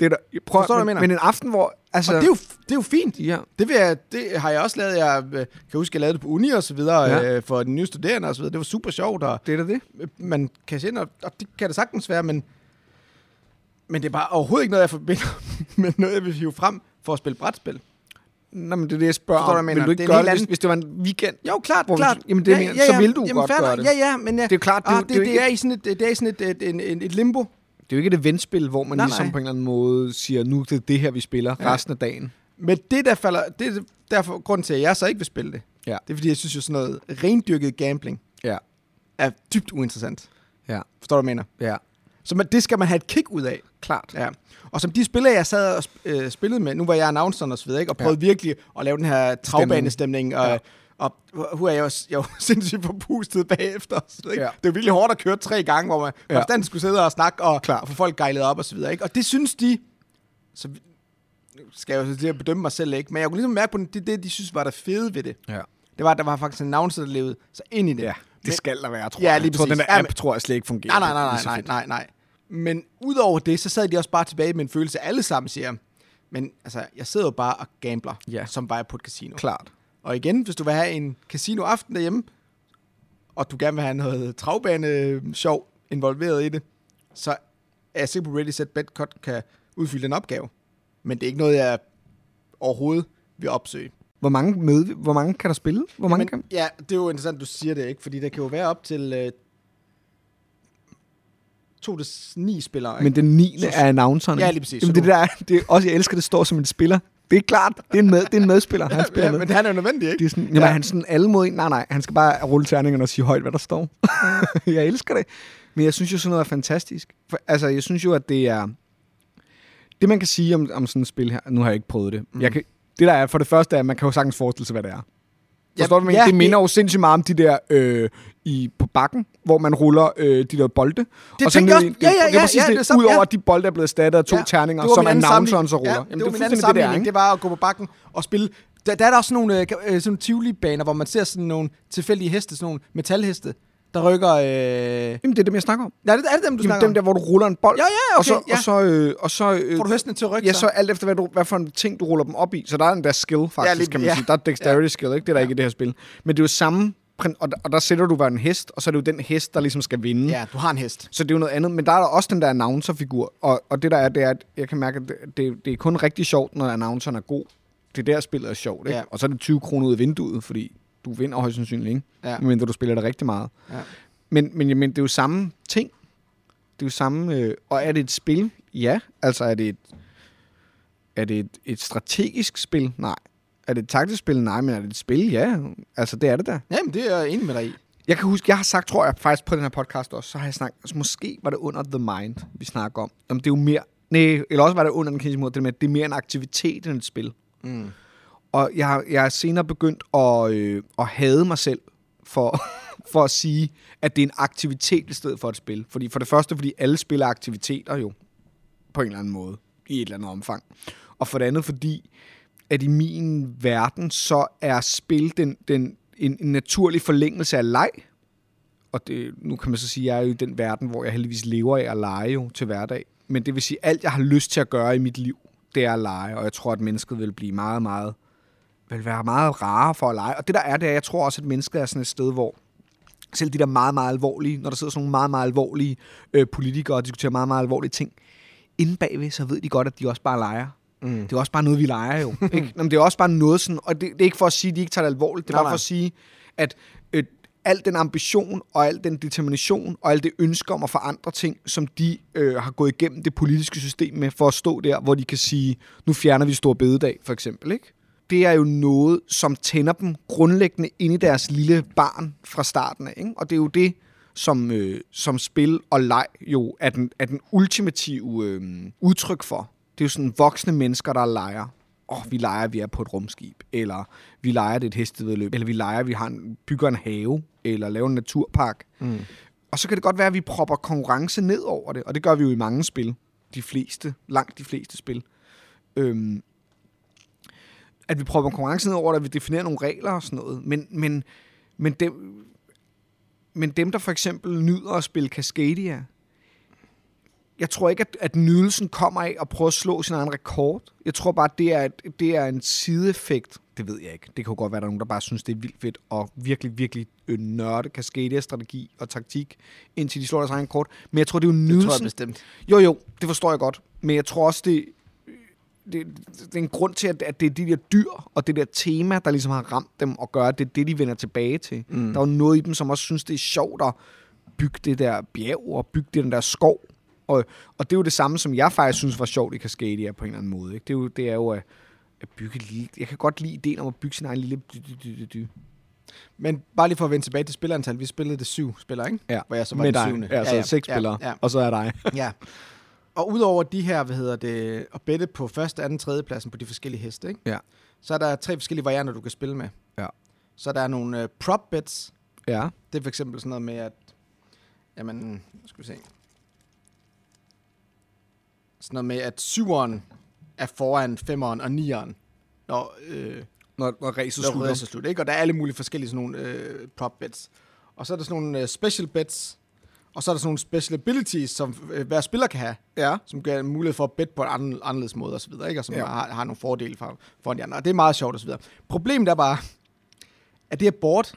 [SPEAKER 2] Det er der, prøv,
[SPEAKER 1] Forstår du,
[SPEAKER 2] men,
[SPEAKER 1] hvad jeg mener?
[SPEAKER 2] men en aften, hvor... Altså,
[SPEAKER 1] Og det er, jo, det er jo fint.
[SPEAKER 2] Ja.
[SPEAKER 1] Det, vil jeg, det har jeg også lavet. Jeg øh, kan huske, jeg lavede det på uni og så videre,
[SPEAKER 2] Ja.
[SPEAKER 1] ja. øh, for de nye studerende og så videre. Det var super sjovt, og
[SPEAKER 2] Det er da det.
[SPEAKER 1] øh, man kan se ind, og, og det kan det sagtens være, men, men det er bare overhovedet ikke noget, jeg forbinder med noget, jeg vil hive frem for at spille brætspil.
[SPEAKER 2] Nå, men det er det, jeg spørger
[SPEAKER 1] Forstår du,
[SPEAKER 2] om.
[SPEAKER 1] hvad jeg
[SPEAKER 2] Vil
[SPEAKER 1] mener?
[SPEAKER 2] du ikke
[SPEAKER 1] Det er en helt
[SPEAKER 2] gøre det, hvis,
[SPEAKER 1] anden-
[SPEAKER 2] hvis det var en weekend?
[SPEAKER 1] Jo, klart,
[SPEAKER 2] Hvor du-
[SPEAKER 1] klart.
[SPEAKER 2] jamen, det er min- så vil du godt
[SPEAKER 1] fair
[SPEAKER 2] gøre
[SPEAKER 1] nok.
[SPEAKER 2] det.
[SPEAKER 1] Ja, ja, men ja.
[SPEAKER 2] Det er jo klart, det, er
[SPEAKER 1] ah,
[SPEAKER 2] jo-
[SPEAKER 1] det,
[SPEAKER 2] det, er jo
[SPEAKER 1] det,
[SPEAKER 2] ikke,
[SPEAKER 1] er i sådan et, det er i sådan et, et, en- en- et limbo.
[SPEAKER 2] det er jo ikke et eventspil, hvor man nej,
[SPEAKER 1] Nej,
[SPEAKER 2] ligesom nej.
[SPEAKER 1] nej.
[SPEAKER 2] på en eller anden måde siger, nu er det det her, vi spiller ja.
[SPEAKER 1] Ja.
[SPEAKER 2] resten af dagen.
[SPEAKER 1] Men det, der falder, det er derfor grunden til, at jeg så ikke vil spille det.
[SPEAKER 2] Ja.
[SPEAKER 1] Det er, fordi jeg synes jo sådan noget rendyrket gambling
[SPEAKER 2] Ja.
[SPEAKER 1] er dybt uinteressant.
[SPEAKER 2] Ja.
[SPEAKER 1] Forstår du, hvad jeg mener?
[SPEAKER 2] Ja,
[SPEAKER 1] Så man, det skal man have et kick ud af.
[SPEAKER 2] klart.
[SPEAKER 1] Ja. Og som de spillere, jeg sad og sp- øh, spillede med, nu var jeg announceren og så videre, ikke? og prøvede ja. virkelig at lave den her travbanestemning, og,
[SPEAKER 2] Ja.
[SPEAKER 1] ja. og hu er jeg, også, jeg var sindssygt forpustet bagefter. og Så videre, ikke?
[SPEAKER 2] Ja.
[SPEAKER 1] Ja. Det var virkelig hårdt at køre tre gange, hvor man
[SPEAKER 2] Ja.
[SPEAKER 1] ja. konstant skulle sidde og snakke og,
[SPEAKER 2] Klar.
[SPEAKER 1] og få folk gejlet op og så videre. Ikke? Og det synes de, så vi- nu skal jeg jo så til at bedømme mig selv ikke, men jeg kunne ligesom mærke på den, det, det de synes var det fede ved det.
[SPEAKER 2] Ja.
[SPEAKER 1] Det var, at der var faktisk en announcer, der levede sig ind i det.
[SPEAKER 2] Ja, det skal der være, tror
[SPEAKER 1] Ja,
[SPEAKER 2] jeg.
[SPEAKER 1] lige
[SPEAKER 2] jeg tror, den
[SPEAKER 1] præcis.
[SPEAKER 2] der
[SPEAKER 1] Ja,
[SPEAKER 2] app,
[SPEAKER 1] men-
[SPEAKER 2] tror jeg slet ikke fungerer.
[SPEAKER 1] Nej, nej, nej,
[SPEAKER 2] lige
[SPEAKER 1] nej,
[SPEAKER 2] så
[SPEAKER 1] nej,
[SPEAKER 2] fedt.
[SPEAKER 1] nej, nej. Men udover det, så sad de også bare tilbage med en følelse, alle sammen siger, men altså, jeg sidder jo bare og gambler,
[SPEAKER 2] Ja.
[SPEAKER 1] ja. som var jeg på et casino.
[SPEAKER 2] Klart.
[SPEAKER 1] Og igen, hvis du vil have en casinoaften derhjemme, og du gerne vil have noget travbane-sjov involveret i det, så er jeg sikker på, at Ready Set Bet Cut kan udfylde den opgave. Men det er ikke noget, jeg overhovedet vil opsøge.
[SPEAKER 2] Hvor mange, møde, hvor mange kan der spille? Hvor mange kan...
[SPEAKER 1] ja, det er jo interessant, du siger det, ikke? Fordi der kan jo være op til øh, to til s- ni spillere, ikke?
[SPEAKER 2] Men den 9. er announceren.
[SPEAKER 1] Ja,
[SPEAKER 2] ikke?
[SPEAKER 1] lige præcis.
[SPEAKER 2] Jamen,
[SPEAKER 1] Så
[SPEAKER 2] det der, det er også, jeg elsker, det står som en spiller. Det er klart, det er en, med, det er en medspiller. Han spiller
[SPEAKER 1] ja,
[SPEAKER 2] med.
[SPEAKER 1] men han er jo nødvendig, ikke?
[SPEAKER 2] Det er sådan, jamen, ja. han er sådan alle mod en. Nej, nej, han skal bare rulle terningerne og sige højt, hvad der står. jeg elsker det. Men jeg synes jo, sådan noget er fantastisk. For, altså, jeg synes jo, at det er... Det, man kan sige om, om sådan et spil her... Nu har jeg ikke prøvet det. Mm. Jeg kan, det der er, for det første er, at man kan jo sagtens forestille sig, hvad det er. Forstår du, men ja, det minder jo sindssygt meget om de der øh, i, på bakken, hvor man ruller øh, de der bolde.
[SPEAKER 1] Det
[SPEAKER 2] og så
[SPEAKER 1] tænkte
[SPEAKER 2] ned
[SPEAKER 1] jeg
[SPEAKER 2] i-
[SPEAKER 1] også- ja, ja,
[SPEAKER 2] det er
[SPEAKER 1] ja,
[SPEAKER 2] præcis
[SPEAKER 1] ja, det er sådan,
[SPEAKER 2] Udover
[SPEAKER 1] ja.
[SPEAKER 2] at de bolde er blevet erstattet af to
[SPEAKER 1] Ja,
[SPEAKER 2] terninger,
[SPEAKER 1] det var
[SPEAKER 2] som
[SPEAKER 1] min anden sammenligning.
[SPEAKER 2] announceren så ruller.
[SPEAKER 1] Ja,
[SPEAKER 2] Jamen,
[SPEAKER 1] det, det var min anden
[SPEAKER 2] fuldstændig det, det er,
[SPEAKER 1] sammenligning.
[SPEAKER 2] ikke?
[SPEAKER 1] Det, var at gå på bakken og spille. Der, der er der også sådan nogle, øh, øh, sådan tivoli-baner, hvor man ser sådan nogle tilfældige heste, sådan nogle metalheste, der rykker... Øh...
[SPEAKER 2] Jamen, det er dem, jeg snakker om.
[SPEAKER 1] Nej, det er det dem, du
[SPEAKER 2] Jamen,
[SPEAKER 1] snakker
[SPEAKER 2] dem der, hvor du ruller en bold.
[SPEAKER 1] Ja, ja,
[SPEAKER 2] og så,
[SPEAKER 1] okay, ja.
[SPEAKER 2] Og så, øh, og så, øh,
[SPEAKER 1] om. Får du hestene til at rykke
[SPEAKER 2] ja,
[SPEAKER 1] sig?
[SPEAKER 2] så alt efter, hvad, du, hvad for en ting, du ruller dem op i. Så der er en der skill, faktisk,
[SPEAKER 1] lige-
[SPEAKER 2] kan man
[SPEAKER 1] ja.
[SPEAKER 2] sige. Der er dexterity skill, ikke? Det er der ikke i det her spil. Men det er jo samme, prin- og, der- og der sætter du hver en hest, og så er det jo den hest, der ligesom skal vinde.
[SPEAKER 1] Ja, du har en hest.
[SPEAKER 2] Så det er jo noget andet. Men der er der også den der announcerfigur. Og, og det der er, det er, at jeg kan mærke, at det- det, det er kun rigtig sjovt, når announceren er god. Det er der, spillet er sjovt. Ikke?
[SPEAKER 1] Ja.
[SPEAKER 2] Og så er det 20 kroner ud af vinduet, fordi du vinder højst sandsynligt, ikke?
[SPEAKER 1] Ja.
[SPEAKER 2] Men du spiller det rigtig meget.
[SPEAKER 1] Ja.
[SPEAKER 2] Men, men, men det er jo samme ting. Det er jo samme... Øh, og er det et spil? Ja. Altså, er det et, er det et, et strategisk spil? Nej. Er det et taktisk spil? Nej, men er det et spil? Ja. Altså, det er det da.
[SPEAKER 1] Jamen, det er jeg enig med dig i.
[SPEAKER 2] Jeg kan huske, jeg har sagt, tror jeg, faktisk på den her podcast også, så har jeg snakket, altså, måske var det under The Mind, vi snakker om. Jamen, det er jo mere, nej, eller også var det under den kinesiske måde, det med, at det er mere en aktivitet end et spil.
[SPEAKER 1] Mm.
[SPEAKER 2] Og jeg, har- jeg er senere begyndt at, øh, at hade mig selv for, for at sige, at det er en aktivitet i stedet for et spil. Fordi for det første, fordi alle spiller aktiviteter jo på en eller anden måde, i et eller andet omfang. Og for det andet, fordi at i min verden, så er spil den, den, en, en naturlig forlængelse af leg. Og det, nu kan man så sige, at jeg er jo i den verden, hvor jeg heldigvis lever af at lege jo til hverdag. Men det vil sige, at alt jeg har lyst til at gøre i mit liv, det er at lege. Og jeg tror, at mennesket vil blive meget, meget vil være meget rare for at lege. Og det der er, det er, jeg tror også, at mennesket er sådan et sted, hvor selv de der meget, meget alvorlige, når der sidder sådan nogle meget, meget alvorlige øh, politikere og diskuterer meget, meget alvorlige ting, inde bagved, så ved de godt, at de også bare leger. Mm. Det er også bare noget, vi leger jo. ikke? Nå, men det er også bare noget sådan, og det, det er ikke for at sige, at de ikke tager det alvorligt, det er
[SPEAKER 1] Nej,
[SPEAKER 2] bare for
[SPEAKER 1] nej.
[SPEAKER 2] at sige, at øh, al den ambition og al den determination og alt det ønske om at forandre ting, som de øh, har gået igennem det politiske system med for at stå der, hvor de kan sige, nu fjerner vi stor bededag, for eksempel, ikke? Det er jo noget, som tænder dem grundlæggende ind i deres lille barn fra starten af, ikke? Og det er jo det, som, øh, som spil og leg jo er den, er den ultimative øh, udtryk for. Det er jo sådan voksne mennesker, der leger. Åh, oh, vi leger, vi er på et rumskib, eller vi leger, det er et hestevedløb, eller vi leger, vi har en, bygger en have, eller laver en naturpark. Mm. Og så kan det godt være, at vi propper konkurrence ned over det, og det gør vi jo i mange spil. De fleste, langt de fleste spil. Øhm, at vi propper konkurrence ned over det, at vi definerer nogle regler og sådan noget. Men, men, men det, men dem, der for eksempel nyder at spille Cascadia, jeg tror ikke, at, at nydelsen kommer af at prøve at slå sin egen rekord. Jeg tror bare, det er, et- det er en sideeffekt. Det ved jeg ikke. Det kan jo godt være, at der er nogen, der bare synes, det er vildt fedt og virkelig, virkelig øh, nørde Cascadia-strategi og taktik, indtil de slår deres egen rekord. Men jeg tror, det er jo
[SPEAKER 1] Det tror jeg
[SPEAKER 2] nydelsen.
[SPEAKER 1] bestemt.
[SPEAKER 2] Jo, jo, det forstår jeg godt. Men jeg tror også, det, det, det er en grund til, at, at det er de der dyr og det der tema, der ligesom har ramt dem og gør, at det er det, de vender tilbage til. Mm. Der er jo noget i dem, som også synes, det er sjovt at bygge det der bjerg og bygge den der skov. Og, og det er jo det samme, som jeg faktisk synes var sjovt i Cascadia på en eller anden måde. Ikke? Det, er jo, det er jo at, at bygge et lille... Jeg kan godt lide ideen om at bygge sin egen lille... dy- dy- dy- dy- dy.
[SPEAKER 1] Men bare lige for at vende tilbage til spillerantal. Vi spillede det syv spillere, ikke?
[SPEAKER 2] Ja,
[SPEAKER 1] Hvor jeg så var
[SPEAKER 2] med
[SPEAKER 1] den
[SPEAKER 2] dig.
[SPEAKER 1] syvende.
[SPEAKER 2] Ja, altså seks spillere,
[SPEAKER 1] Ja,
[SPEAKER 2] og så er dig.
[SPEAKER 1] ja. Og udover de her, hvad hedder det, at bette på første, anden, tredje pladsen på de forskellige heste, ikke?
[SPEAKER 2] Ja.
[SPEAKER 1] Så er der tre forskellige varianter, du kan spille med.
[SPEAKER 2] Ja.
[SPEAKER 1] Så der er nogle øh, prop bets.
[SPEAKER 2] ja.
[SPEAKER 1] Det er for eksempel sådan noget med, at... Jamen, skal vi se. Sådan noget med, at syveren er foran femeren og nieren, når, øh,
[SPEAKER 2] Når, når ræset
[SPEAKER 1] når røde er
[SPEAKER 2] slutter.
[SPEAKER 1] så slut. Ikke? Og der er alle mulige forskellige sådan nogle øh, prop bets. Og så er der sådan nogle øh, special bets, og så er der sådan nogle special abilities, som øh, hver spiller kan have,
[SPEAKER 2] Ja.
[SPEAKER 1] som giver en mulighed for at bet på en anden, anderledes måde osv., ikke? og som
[SPEAKER 2] Ja.
[SPEAKER 1] ja. har, har nogle fordele for, for de andre. Og det er meget sjovt osv. Problemet er bare, at det her board,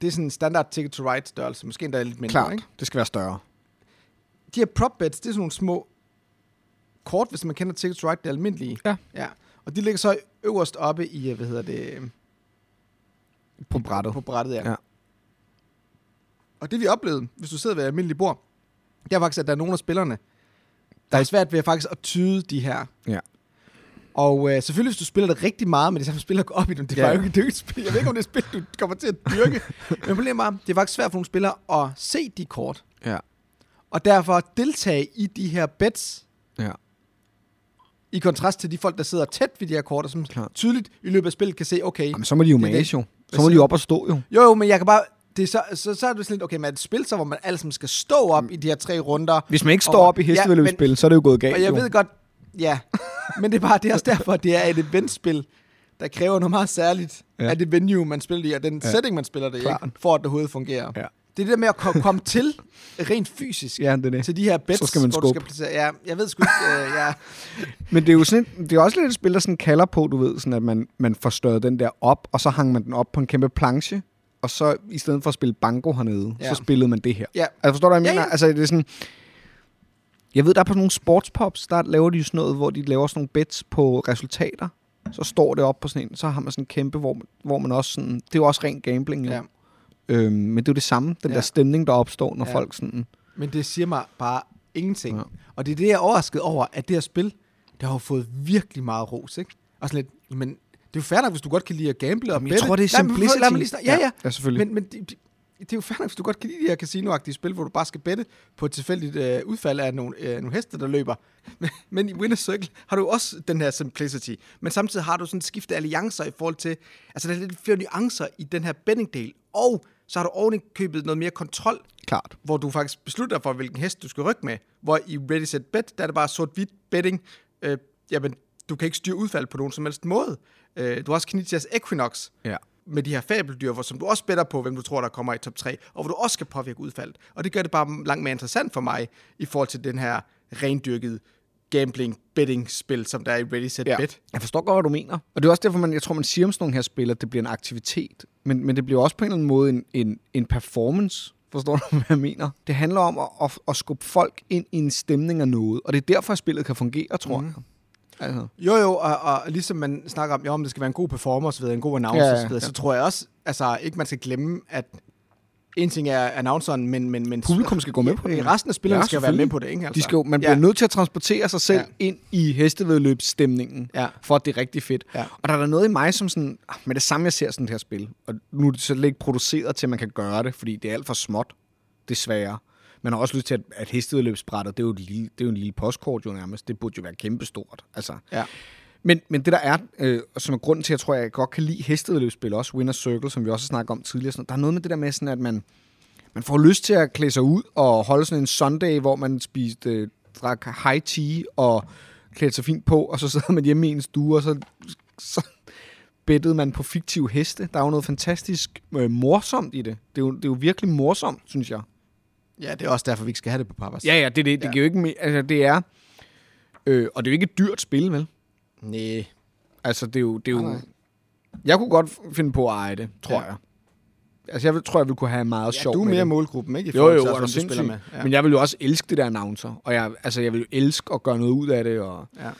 [SPEAKER 1] det er sådan en standard ticket to ride størrelse, måske endda lidt mindre.
[SPEAKER 2] Klart.
[SPEAKER 1] Ikke?
[SPEAKER 2] Det skal være større.
[SPEAKER 1] De her prop bets, det er sådan nogle små kort, hvis man kender ticket to ride, det er almindelige.
[SPEAKER 2] Ja.
[SPEAKER 1] ja. Og de ligger så øverst oppe i, øh, hvad hedder det, øh,
[SPEAKER 2] På brættet.
[SPEAKER 1] på brættet, ja.
[SPEAKER 2] Ja.
[SPEAKER 1] ja. Og det vi oplevede, hvis du sidder ved et almindeligt bord, det er faktisk, at der er nogle af spillerne, der er svært ved at faktisk at tyde de her.
[SPEAKER 2] Ja.
[SPEAKER 1] Og øh, selvfølgelig, hvis du spiller det rigtig meget, men det samme spiller går op i dem, det er
[SPEAKER 2] Ja,
[SPEAKER 1] ja.
[SPEAKER 2] ja.
[SPEAKER 1] jo ikke et dygtigt spil. Jeg ved ikke, om det er et spil, du kommer til at dyrke. men problemet er, det er faktisk svært for nogle spillere at se de kort,
[SPEAKER 2] Ja.
[SPEAKER 1] og derfor deltage i de her bets,
[SPEAKER 2] Ja.
[SPEAKER 1] i kontrast til de folk, der sidder tæt ved de her kort, og som
[SPEAKER 2] Klart.
[SPEAKER 1] tydeligt i løbet af spillet kan se, okay,
[SPEAKER 2] Jamen, så må de jo
[SPEAKER 1] Det er
[SPEAKER 2] mage,
[SPEAKER 1] det.
[SPEAKER 2] jo.
[SPEAKER 1] Hvad
[SPEAKER 2] Så må de
[SPEAKER 1] siger
[SPEAKER 2] jo
[SPEAKER 1] du?
[SPEAKER 2] op og stå, jo.
[SPEAKER 1] Jo, jo, men jeg kan bare... Det er så, så, så er det sådan lidt, okay, men er det et spil så, hvor man alle sammen skal stå op i de her tre runder?
[SPEAKER 2] Mm. Hvis man ikke står
[SPEAKER 1] Og-
[SPEAKER 2] op i
[SPEAKER 1] Ja,
[SPEAKER 2] hestevældøbsspil, så er det jo gået galt,
[SPEAKER 1] Og jeg
[SPEAKER 2] jo.
[SPEAKER 1] ved godt, ja. Men det er bare, det er også derfor, at det er et eventspil, der kræver noget meget særligt
[SPEAKER 2] Ja.
[SPEAKER 1] ja. af det venue, man spiller det i, og den
[SPEAKER 2] Ja.
[SPEAKER 1] ja. setting, man spiller det i,
[SPEAKER 2] Klart.
[SPEAKER 1] ikke? for at det overhovedet fungerer.
[SPEAKER 2] Ja.
[SPEAKER 1] Ja. Det er det der med at ko- komme til rent fysisk.
[SPEAKER 2] Ja, det er det.
[SPEAKER 1] Til de her bets,
[SPEAKER 2] Så skal man
[SPEAKER 1] hvor du skal
[SPEAKER 2] skubbe.
[SPEAKER 1] placere. Ja, jeg ved sgu ikke, øh, ja.
[SPEAKER 2] Men det er jo sådan, et- det er også lidt et spil, der sådan kalder på, du ved, sådan at man, man forstørrede den der op, og så hang man den op på en kæmpe planche, og så i stedet for at spille banko hernede, ja.
[SPEAKER 1] Ja.
[SPEAKER 2] så spillede man det her.
[SPEAKER 1] ja.
[SPEAKER 2] Altså, forstår du, hvad jeg
[SPEAKER 1] Ja,
[SPEAKER 2] mener?
[SPEAKER 1] ja.
[SPEAKER 2] Altså, det er sådan... Jeg ved, der er på sådan nogle sportspops, der laver de jo sådan noget, hvor de laver sådan nogle bets på resultater. Så står det op på sådan en, så har man sådan en kæmpe, hvor, hvor man også sådan... Det er jo også ren gambling, jo. Ja.
[SPEAKER 1] Ja.
[SPEAKER 2] Øhm, men det er jo det samme, den ja.
[SPEAKER 1] Ja.
[SPEAKER 2] der stemning, der opstår, når ja.
[SPEAKER 1] Ja.
[SPEAKER 2] folk sådan...
[SPEAKER 1] Men det siger mig bare ingenting.
[SPEAKER 2] Ja.
[SPEAKER 1] Ja. Og det er det, jeg er overrasket over, at det her spil, det har jo fået virkelig meget ros, ikke? Og sådan lidt, men det er jo fair nok, hvis du godt kan lide at gamble og
[SPEAKER 2] Jamen, jeg
[SPEAKER 1] bette.
[SPEAKER 2] tror, det er
[SPEAKER 1] Nej, men
[SPEAKER 2] simplicity.
[SPEAKER 1] lad mig lige snak- ja, ja.
[SPEAKER 2] Ja, selvfølgelig.
[SPEAKER 1] Men, men det, det, det er jo fair nok, hvis du godt kan lide de her casinoagtige spil, hvor du bare skal bette på et tilfældigt øh, udfald af nogle, øh, nogle heste, der løber. Men, men i Winner Circle har du også den her simplicity. Men samtidig har du sådan et skift af alliancer i forhold til... Altså, der er lidt flere nuancer i den her bettingdel. Og så har du oven i købet noget mere kontrol
[SPEAKER 2] Klart.
[SPEAKER 1] hvor du faktisk beslutter for, hvilken hest du skal rykke med. Hvor i Ready Set Bet, der er det bare sort-hvidt betting. Øh, jamen, du kan ikke styre udfald på nogen som helst måde. Øh, du har også Kinesias Equinox
[SPEAKER 2] Ja.
[SPEAKER 1] med de her fabeldyr, hvor, som du også better på, hvem du tror, der kommer i top 3, og hvor du også skal påvirke udfaldet. Og det gør det bare langt mere interessant for mig, i forhold til den her rendyrkede gambling-betting-spil, som der er i Ready Set
[SPEAKER 2] Ja.
[SPEAKER 1] Bet.
[SPEAKER 2] Jeg forstår godt, hvad du mener. Og det er også derfor, man, jeg tror, man siger om sådan nogle her spil, at det bliver en aktivitet. Men, men det bliver også på en eller anden måde en, en, en performance. Forstår du, hvad jeg mener? Det handler om at, at, at skubbe folk ind i en stemning af noget. Og det er derfor, at spillet kan fungere, tror mm. jeg. Altså.
[SPEAKER 1] Jo, jo, og, og ligesom man snakker om, jo, om det skal være en god performer osv., en god announcer
[SPEAKER 2] Ja, ja,
[SPEAKER 1] ja, ja,
[SPEAKER 2] ja.
[SPEAKER 1] ja. så tror jeg også, altså ikke man skal glemme, at en ting er annonceren, men... men, men
[SPEAKER 2] Publikum skal gå med på det.
[SPEAKER 1] Resten af spillerne
[SPEAKER 2] Ja,
[SPEAKER 1] ja, skal være med
[SPEAKER 2] selvfølgelig.
[SPEAKER 1] på det, ikke? Altså.
[SPEAKER 2] De skal jo, man bliver ja. nødt til at transportere sig selv ja.
[SPEAKER 1] Ja.
[SPEAKER 2] ind i hestevedløbsstemningen,
[SPEAKER 1] Ja.
[SPEAKER 2] for at det er rigtig fedt.
[SPEAKER 1] Ja.
[SPEAKER 2] Og der er der noget i mig, som sådan, ah, med det samme, jeg ser sådan det her spil, og nu er det så ikke produceret til, at man kan gøre det, fordi det er alt for småt, desværre. Man har også lyst til, at, at hestevedløbsbrættet, det er jo, et lille, det er jo en lille postkort jo nærmest. Det burde jo være kæmpestort. Altså.
[SPEAKER 1] Ja.
[SPEAKER 2] Men, men det der er, øh, og som er grunden til, at jeg tror, jeg godt kan lide hestevedløbsspil også, Winner Circle, som vi også snakker om tidligere, sådan, der er noget med det der med, sådan, at man, man får lyst til at klæde sig ud og holde sådan en Sunday, hvor man spiste, øh, drak high tea og klædte sig fint på, og så sad man hjemme i en stue, og så, så bettede man på fiktive heste. Der er jo noget fantastisk øh, morsomt i det. Det er, jo, det er jo virkelig morsomt, synes jeg.
[SPEAKER 1] Ja, det er også derfor, vi ikke skal have det på Papas.
[SPEAKER 2] Ja, ja, det, det, det
[SPEAKER 1] Ja.
[SPEAKER 2] giver jo ikke... me- Altså, det er... Øh, og det er jo ikke et dyrt spil, vel?
[SPEAKER 1] Næh.
[SPEAKER 2] Altså, det er jo... Det er jo
[SPEAKER 1] Nej, nej.
[SPEAKER 2] Jeg kunne godt f- finde på at eje det, tror ja.
[SPEAKER 1] Ja.
[SPEAKER 2] jeg. Altså, jeg vil- tror, jeg ville kunne have meget
[SPEAKER 1] Ja,
[SPEAKER 2] sjov
[SPEAKER 1] du er
[SPEAKER 2] med
[SPEAKER 1] mere
[SPEAKER 2] det.
[SPEAKER 1] målgruppen, ikke? I
[SPEAKER 2] Jo,
[SPEAKER 1] forhold
[SPEAKER 2] jo,
[SPEAKER 1] til,
[SPEAKER 2] er
[SPEAKER 1] også,
[SPEAKER 2] du
[SPEAKER 1] hvem du spiller
[SPEAKER 2] sindssyg.
[SPEAKER 1] med.
[SPEAKER 2] Ja. Men jeg vil jo også elske det der announcer. Og jeg, altså, jeg vil jo elske at gøre noget ud af det, og
[SPEAKER 1] Ja.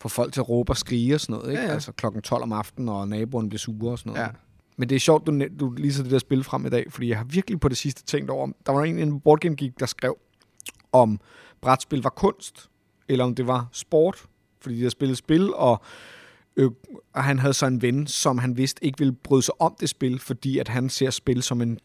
[SPEAKER 2] få folk til at råbe og skrige og sådan noget. Ikke? Ja,
[SPEAKER 1] Ja,
[SPEAKER 2] ja.
[SPEAKER 1] ja.
[SPEAKER 2] Altså klokken 12 om aftenen, og naboen bliver sure og sådan noget.
[SPEAKER 1] Ja.
[SPEAKER 2] Men det er sjovt, du, næ- du lige så det der spil frem i dag, fordi jeg har virkelig på det sidste tænkt over, om- der var en, en boardgame geek, der skrev, om brætspil var kunst, eller om det var sport, fordi de havde spillet spil, og, øh, og han havde så en ven, som han vidste ikke ville bryde sig om det spil, fordi at han ser spil som en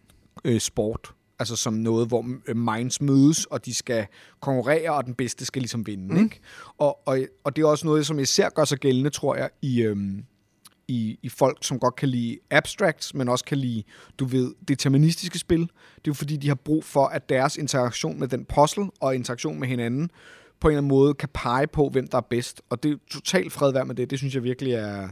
[SPEAKER 2] øh, sport. Altså som noget, hvor øh, minds mødes, og de skal konkurrere, og den bedste skal ligesom vinde. Mm. Ikke? Og, og, og det er også noget, som især gør sig gældende, tror jeg, i, øhm, i, i folk, som godt kan lide abstracts, men også kan lide, du ved, deterministiske spil. Det er jo fordi, de har brug for, at deres interaktion med den puzzle og interaktion med hinanden på en eller anden måde kan pege på, hvem der er bedst. Og det er totalt fred være med det. Det synes jeg virkelig er...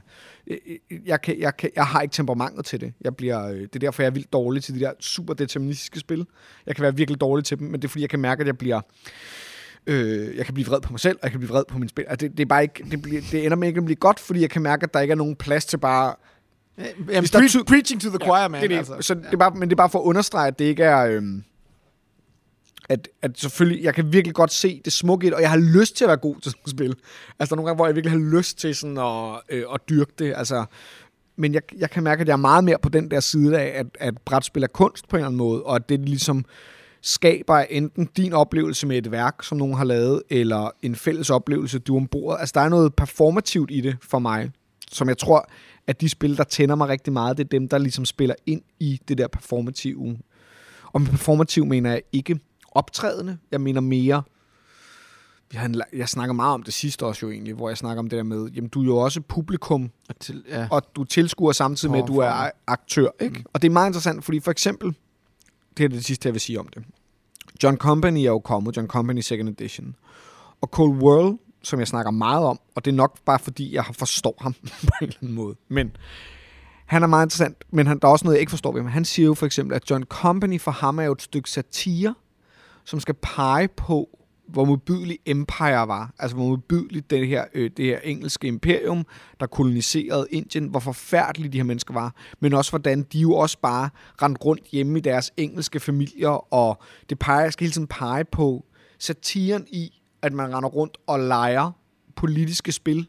[SPEAKER 2] Jeg- jeg- Jeg, kan, jeg, kan, jeg har ikke temperamentet til det. Jeg bliver, øh, det er derfor, jeg er vildt dårlig til de der super deterministiske spil. Jeg kan være virkelig dårlig til dem, men det er fordi, jeg kan mærke, at jeg bliver... Øh, jeg kan blive vred på mig selv, og jeg kan blive vred på min spil. Altså, det, det, er bare ikke, det, bliver, det ender med ikke at blive godt, fordi jeg kan mærke, at der ikke er nogen plads til bare
[SPEAKER 1] Ja. Jamen,
[SPEAKER 2] Hvis der er
[SPEAKER 1] pre-
[SPEAKER 2] tid-
[SPEAKER 1] preaching to the choir, man.
[SPEAKER 2] det, er det.
[SPEAKER 1] Altså.
[SPEAKER 2] Så det er bare, men det er bare for at understrege, at det ikke er... Øhm, at, at selvfølgelig, jeg kan virkelig godt se det smukke i det, og jeg har lyst til at være god til sådan et spil. Altså der er nogle gange, hvor jeg virkelig har lyst til sådan at, øh, at dyrke det. Altså, men jeg, jeg kan mærke, at jeg er meget mere på den der side af, at, at brætspil er kunst på en eller anden måde, og at det ligesom skaber enten din oplevelse med et værk, som nogen har lavet, eller en fælles oplevelse, du er ombord. Altså, der er noget performativt i det for mig, som jeg tror, at de spil, der tænder mig rigtig meget, det er dem, der ligesom spiller ind i det der performative. Og med performativ mener jeg ikke optrædende, jeg mener mere vi har en, la- jeg snakker meget om det sidste også jo egentlig, hvor jeg snakker om det der med, jamen du er jo også publikum,
[SPEAKER 1] Og til, ja.
[SPEAKER 2] og du tilskuer samtidig med, at du er
[SPEAKER 1] Forfra.
[SPEAKER 2] aktør. Ikke? Mm. Og det er meget interessant, fordi for eksempel, det er det sidste, jeg vil sige om det. John Company er jo kommet, John Company Second Edition. Og Cold World, som jeg snakker meget om, og det er nok bare fordi, jeg har- forstår ham på en eller anden måde. Men han er meget interessant, men han, der er også noget, jeg ikke forstår ved ham. Han siger jo for eksempel, at John Company for ham er jo et stykke satire, som skal pege på, hvor modbydelig Empire var. Altså, hvor modbydeligt det her, øh, det her engelske imperium, der koloniserede Indien, hvor forfærdelige de her mennesker var. Men også, hvordan de jo også bare rendte rundt hjemme i deres engelske familier, og det peger, jeg skal hele tiden pege på satiren i, at man render rundt og leger politiske spil,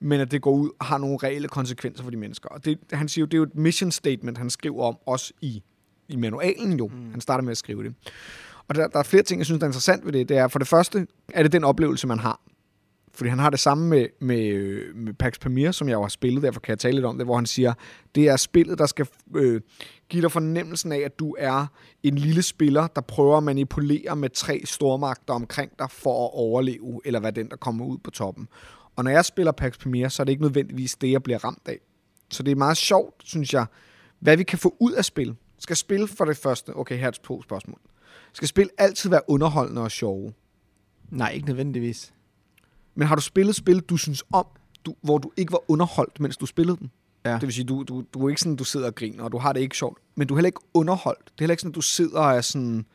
[SPEAKER 2] men at det går ud og har nogle reelle konsekvenser for de mennesker. Og det, han siger jo, det er jo et mission statement, han skriver om, også i, i manualen jo. Mm. Han starter med at skrive det. Og der, der er flere ting, jeg synes, der er interessant ved det. Det er for det første, er det den oplevelse, man har. Fordi han har det samme med, med, øh, med Pax Pamir, som jeg jo har spillet, derfor kan jeg tale lidt om det, hvor han siger, det er spillet, der skal øh, give dig fornemmelsen af, at du er en lille spiller, der prøver at manipulere med tre stormagter omkring dig for at overleve, eller hvad den, der kommer ud på toppen. Og når jeg spiller Pax Pamir, så er det ikke nødvendigvis det, jeg bliver ramt af. Så det er meget sjovt, synes jeg, hvad vi kan få ud af spil. Skal spil for det første, okay, her er to spørgsmål. Skal spil altid være underholdende og sjove?
[SPEAKER 1] Nej, ikke nødvendigvis.
[SPEAKER 2] Men har du spillet spil, du synes om, du, hvor du ikke var underholdt, mens du spillede dem?
[SPEAKER 1] Ja.
[SPEAKER 2] Det vil sige, du, du, du er ikke sådan, du sidder og griner, og du har det ikke sjovt. Men du er heller ikke underholdt. Det er heller ikke sådan, at du sidder og er sådan...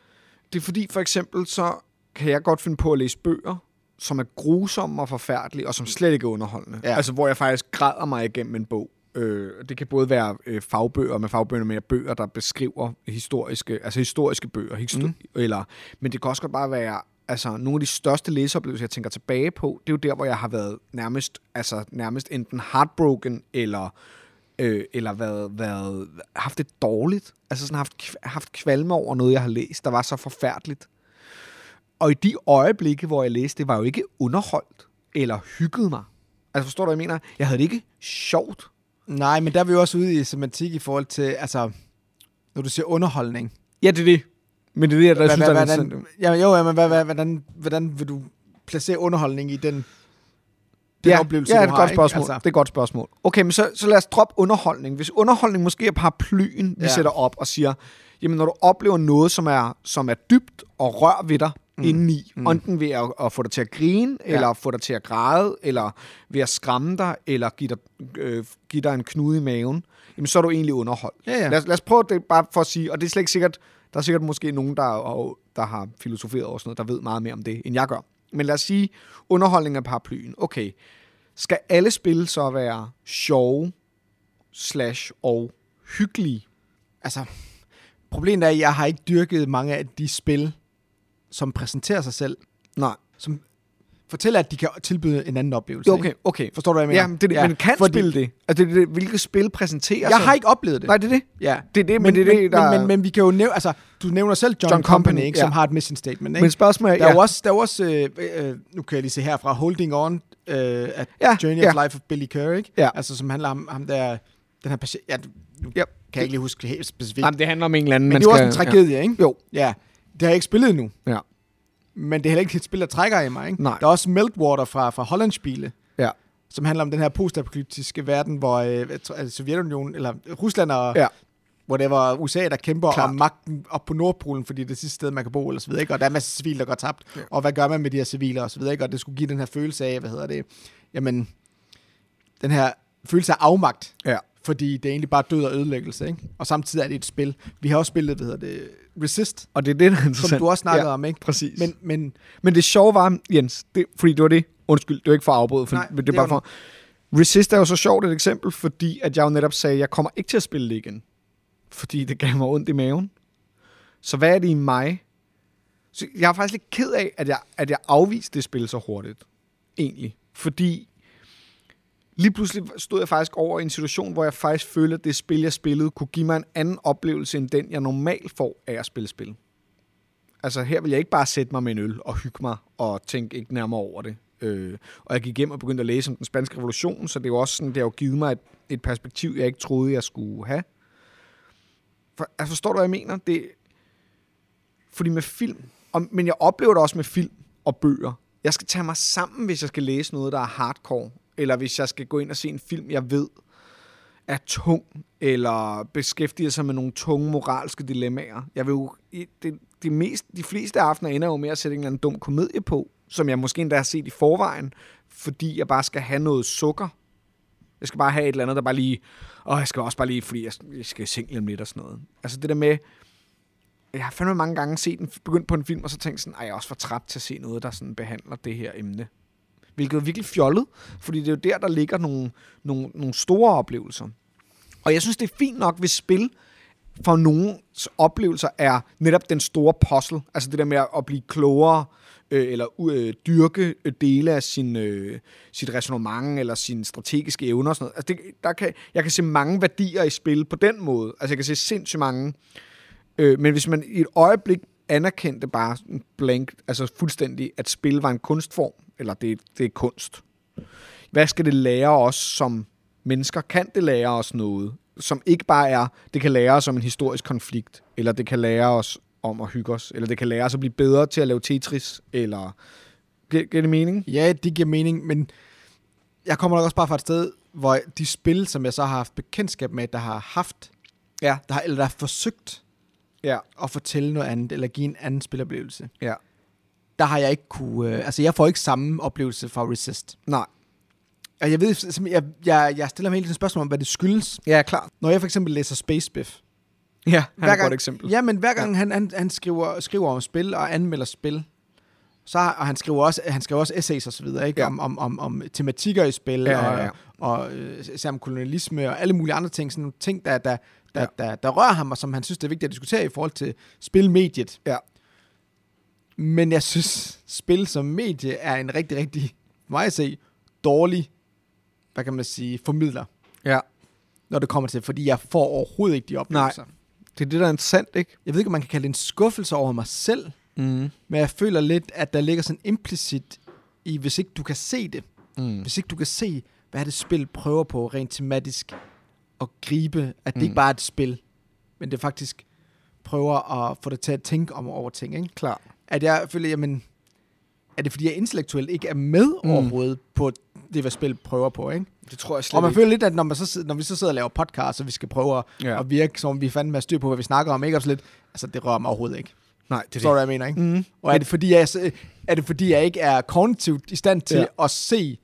[SPEAKER 2] Det er fordi, for eksempel, så kan jeg godt finde på at læse bøger, som er grusomme og forfærdelige, og som slet ikke er underholdende.
[SPEAKER 1] Ja.
[SPEAKER 2] Altså, hvor jeg faktisk græder mig igennem en bog. Øh, det kan både være øh, fagbøger, med fagbøger med bøger, der beskriver historiske, altså historiske bøger, histo- mm. eller, men det kan også godt bare være, altså nogle af de største læseoplevelser, jeg tænker tilbage på, det er jo der, hvor jeg har været nærmest, altså nærmest enten heartbroken, eller øh, eller været, været, haft det dårligt. Altså sådan haft, kv- haft kvalme over noget, jeg har læst, der var så forfærdeligt. Og i de øjeblikke, hvor jeg læste, det var jo ikke underholdt eller hyggede mig. Altså forstår du, hvad jeg mener? Jeg havde det ikke sjovt.
[SPEAKER 1] Nej, men der er vi jo også ude i semantik i forhold til, altså, når du siger underholdning.
[SPEAKER 2] Ja, det er det. Men det er det, jeg der synes,
[SPEAKER 1] Hvad-
[SPEAKER 2] der er
[SPEAKER 1] hvordan,
[SPEAKER 2] interessant.
[SPEAKER 1] ja, jo, ja, men hvad, hvad, hvordan, hvordan vil du placere underholdning i den, den
[SPEAKER 2] ja,
[SPEAKER 1] oplevelse,
[SPEAKER 2] ja,
[SPEAKER 1] du
[SPEAKER 2] det er
[SPEAKER 1] har,
[SPEAKER 2] et godt
[SPEAKER 1] ikke?
[SPEAKER 2] spørgsmål. Altså.
[SPEAKER 1] Altså,
[SPEAKER 2] Det er et godt spørgsmål. Okay, men så, så lad os droppe underholdning. Hvis underholdning måske er paraplyen, vi ja.
[SPEAKER 1] Ja.
[SPEAKER 2] sætter op og siger, jamen når du oplever noget, som er, som er dybt og rør ved dig mm. indeni, mm. enten ved at, at få dig til at grine, ja. eller få dig til at græde, eller ved at skræmme dig, eller give dig, øh, give dig en knude i maven, jamen så er du egentlig underholdt.
[SPEAKER 1] Ja, ja.
[SPEAKER 2] Lad, os, lad os prøve det bare for at sige, og det er slet ikke sikkert, der er sikkert måske nogen, der, og, der har filosoferet over sådan noget, der ved meget mere om det, end jeg gør. Men lad os sige, underholdning af paraplyen. Okay, skal alle spil så være sjove slash og hyggelige?
[SPEAKER 1] altså, problemet er, at jeg har ikke dyrket mange af de spil, som præsenterer sig selv,
[SPEAKER 2] Nej.
[SPEAKER 1] som fortæller, at de kan tilbyde en anden oplevelse.
[SPEAKER 2] Okay,
[SPEAKER 1] ikke?
[SPEAKER 2] okay.
[SPEAKER 1] Forstår du, hvad jeg mener?
[SPEAKER 2] Ja, men, det, ja, men kan fordi... spille det? Altså, det, er det, hvilke spil præsenterer
[SPEAKER 1] Jeg
[SPEAKER 2] sig?
[SPEAKER 1] har ikke oplevet det.
[SPEAKER 2] Nej, det er det.
[SPEAKER 1] Ja.
[SPEAKER 2] Det er det, men,
[SPEAKER 1] men,
[SPEAKER 2] det er det,
[SPEAKER 1] men,
[SPEAKER 2] der...
[SPEAKER 1] men, men, men vi kan jo nævne, altså, du nævner selv John,
[SPEAKER 2] John
[SPEAKER 1] John
[SPEAKER 2] Company,
[SPEAKER 1] Company, ikke,
[SPEAKER 2] ja.
[SPEAKER 1] som har et mission statement, ikke?
[SPEAKER 2] men spørgsmålet
[SPEAKER 1] der er
[SPEAKER 2] er...
[SPEAKER 1] jo også, der er jo også øh, øh, nu kan jeg lige se herfra, Holding On, øh, at
[SPEAKER 2] Ja,
[SPEAKER 1] ja, Journey
[SPEAKER 2] ja.
[SPEAKER 1] of Life of Billy Kerr, ikke?
[SPEAKER 2] Ja.
[SPEAKER 1] Altså, som handler om ham der, den her patient, ja, nu
[SPEAKER 2] Ja.
[SPEAKER 1] ja. kan jeg ikke lige huske helt specifikt,
[SPEAKER 2] Jamen, det handler om en eller anden,
[SPEAKER 1] men
[SPEAKER 2] man
[SPEAKER 1] det er jo
[SPEAKER 2] skal-
[SPEAKER 1] også en tragedie, ja. ikke?
[SPEAKER 2] Ja. Jo,
[SPEAKER 1] Ja, det har jeg ikke spillet endnu,
[SPEAKER 2] ja.
[SPEAKER 1] men det er heller ikke et spil, der trækker i mig, ikke?
[SPEAKER 2] Nej.
[SPEAKER 1] Der er også Meltwater fra, fra Hollandspile,
[SPEAKER 2] Ja.
[SPEAKER 1] som handler om den her postapokalyptiske verden, hvor øh, jeg tror, altså Sovjetunionen, eller Rusland og
[SPEAKER 2] Ja.
[SPEAKER 1] whatever, USA, der kæmper
[SPEAKER 2] Klart.
[SPEAKER 1] Klart. om magten op på Nordpolen, fordi det er det sidste sted, man kan bo, eller så videre, ikke? og der er masser af civile, der går tabt, ja. og hvad gør man med de her civile, og så videre, ikke? og det skulle give den her følelse af, hvad hedder det, jamen, den her følelse af afmagt,
[SPEAKER 2] Ja.
[SPEAKER 1] fordi det er egentlig bare død og ødelæggelse, ikke? og samtidig er det et spil. Vi har også spillet, hvad hedder det, Resist,
[SPEAKER 2] Og det er det, der er interessant.
[SPEAKER 1] som du også snakkede ja. om, ikke?
[SPEAKER 2] Præcis. Men,
[SPEAKER 1] Men, men
[SPEAKER 2] men det sjove var, Jens, det, fordi det var det, undskyld, det var ikke for at afbryde, for,
[SPEAKER 1] Nej,
[SPEAKER 2] men det er
[SPEAKER 1] det
[SPEAKER 2] bare
[SPEAKER 1] var
[SPEAKER 2] for... Resist er jo så sjovt et eksempel, fordi at jeg jo netop sagde, at jeg kommer ikke til at spille det igen. Fordi det gav mig ondt i maven. Så hvad er det i mig, Så jeg er faktisk lidt ked af, at jeg, at jeg afviste det spil så hurtigt. Egentlig. Fordi lige pludselig stod jeg faktisk over i en situation, hvor jeg faktisk følte, at det spil, jeg spillede, kunne give mig en anden oplevelse, end den, jeg normalt får af at spille spil. Altså her vil jeg ikke bare sætte mig med en øl og hygge mig og tænke ikke nærmere over det. Øh, og jeg gik hjem og begyndte at læse om den spanske revolution, så det er jo også sådan, det har jo givet mig et, et perspektiv, jeg ikke troede, jeg skulle have. For, altså, forstår du, hvad jeg mener? Det, fordi med film, og, men jeg oplever det også med film og bøger. Jeg skal tage mig sammen, hvis jeg skal læse noget, der er hardcore, eller hvis jeg skal gå ind og se en film, jeg ved er tung, eller beskæftiger sig med nogle tunge moralske dilemmaer. Jeg vil jo, i- det, de, mest, de fleste aftener ender jo med at sætte en eller anden dum komedie på, som jeg måske endda har set i forvejen, fordi jeg bare skal have noget sukker. Jeg skal bare have et eller andet, der bare lige... Og jeg skal også bare lige, fordi jeg, jeg skal i seng lige om lidt og sådan noget. Altså det der med... Jeg har fandme mange gange set en, begyndt på en film, og så tænkt sådan, ej, jeg er også for træt til at se noget, der sådan behandler det her emne. Hvilket er virkelig fjollet, fordi det er jo der, der ligger nogle, nogle, nogle store oplevelser. Og jeg synes, det er fint nok, hvis spil for nogens oplevelser er netop den store puzzle. Altså det der med at at blive klogere, øh, eller øh, dyrke øh, dele af sin, øh, sit resonemang, eller sine strategiske evner og sådan noget. Altså det, der kan, jeg kan se mange værdier i spil på den måde. Altså jeg kan se sindssygt mange. Øh, men hvis man i et øjeblik anerkendte bare sådan blank, altså fuldstændig, at spil var en kunstform, eller det, det er kunst, hvad skal det lære os som mennesker? Kan det lære os noget, som ikke bare er, det kan lære os om en historisk konflikt, eller det kan lære os om at hygge os, eller det kan lære os at blive bedre til at lave Tetris, eller... Giver giver det mening?
[SPEAKER 1] Ja, det giver mening, men jeg kommer nok også bare fra et sted, hvor de spil, som jeg så har haft bekendtskab med, der har haft,
[SPEAKER 2] Ja.
[SPEAKER 1] der har, eller der har forsøgt
[SPEAKER 2] Ja.
[SPEAKER 1] at fortælle noget andet, eller give en anden spiloplevelse,
[SPEAKER 2] Ja.
[SPEAKER 1] der har jeg ikke kunne... Øh, altså, jeg får ikke samme oplevelse fra Resist.
[SPEAKER 2] Nej.
[SPEAKER 1] Og Altså, jeg ved, simpelthen- jeg, jeg, jeg stiller mig hele tiden spørgsmål om, hvad det skyldes.
[SPEAKER 2] Ja, klart.
[SPEAKER 1] Når jeg for eksempel læser Space Biff,
[SPEAKER 2] Ja, han er et
[SPEAKER 1] gang-
[SPEAKER 2] godt eksempel.
[SPEAKER 1] Ja, men hver gang ja. han, han, han skriver, skriver om spil og anmelder spil, så, har- og han skriver også, han skriver også essays og så videre, ikke?
[SPEAKER 2] Ja.
[SPEAKER 1] Ja. Om, om, om, om tematikker i spil,
[SPEAKER 2] Ja, ja, ja.
[SPEAKER 1] og, og øh, især om kolonialisme og alle mulige andre ting, sådan nogle ting, der, der, der,
[SPEAKER 2] Ja.
[SPEAKER 1] ja. der, der, der rører ham, og som han synes, det er vigtigt at diskutere i forhold til spilmediet.
[SPEAKER 2] Ja.
[SPEAKER 1] Men jeg synes, spil som medie er en rigtig, rigtig, for mig at se, dårlig, hvad kan man sige, formidler,
[SPEAKER 2] Ja.
[SPEAKER 1] når det kommer til, fordi jeg får overhovedet ikke de oplevelser.
[SPEAKER 2] Det er det, der er interessant, ikke?
[SPEAKER 1] Jeg ved ikke, om man kan kalde det en skuffelse over mig selv,
[SPEAKER 2] Mm.
[SPEAKER 1] men jeg føler lidt, at der ligger sådan implicit i, hvis ikke du kan se det,
[SPEAKER 2] Mm.
[SPEAKER 1] hvis ikke du kan se, hvad det spil prøver på rent tematisk at gribe, at det
[SPEAKER 2] Mm.
[SPEAKER 1] mm. ikke bare er et spil, men det faktisk prøver at få dig til at tænke om over ting. Ikke?
[SPEAKER 2] Klart.
[SPEAKER 1] At jeg føler, jamen, er det fordi, jeg intellektuelt ikke er med
[SPEAKER 2] Mm.
[SPEAKER 1] mm. overhovedet på det, hvad spil prøver på, ikke?
[SPEAKER 2] Det tror jeg slet
[SPEAKER 1] Og man føler lidt, at når, man så, sidder- når vi så sidder og laver podcast, og vi skal prøve at,
[SPEAKER 2] Ja.
[SPEAKER 1] ja. at virke, som om vi fandme har styr på, hvad vi snakker om, ikke? Og så lidt, altså, det rører mig overhovedet ikke.
[SPEAKER 2] Nej, det
[SPEAKER 1] Forstår
[SPEAKER 2] er
[SPEAKER 1] du,
[SPEAKER 2] det.
[SPEAKER 1] hvad jeg mener, ikke?
[SPEAKER 2] Mm.
[SPEAKER 1] Og er det, fordi jeg, så- er det fordi, jeg ikke er kognitivt i stand til ja. at se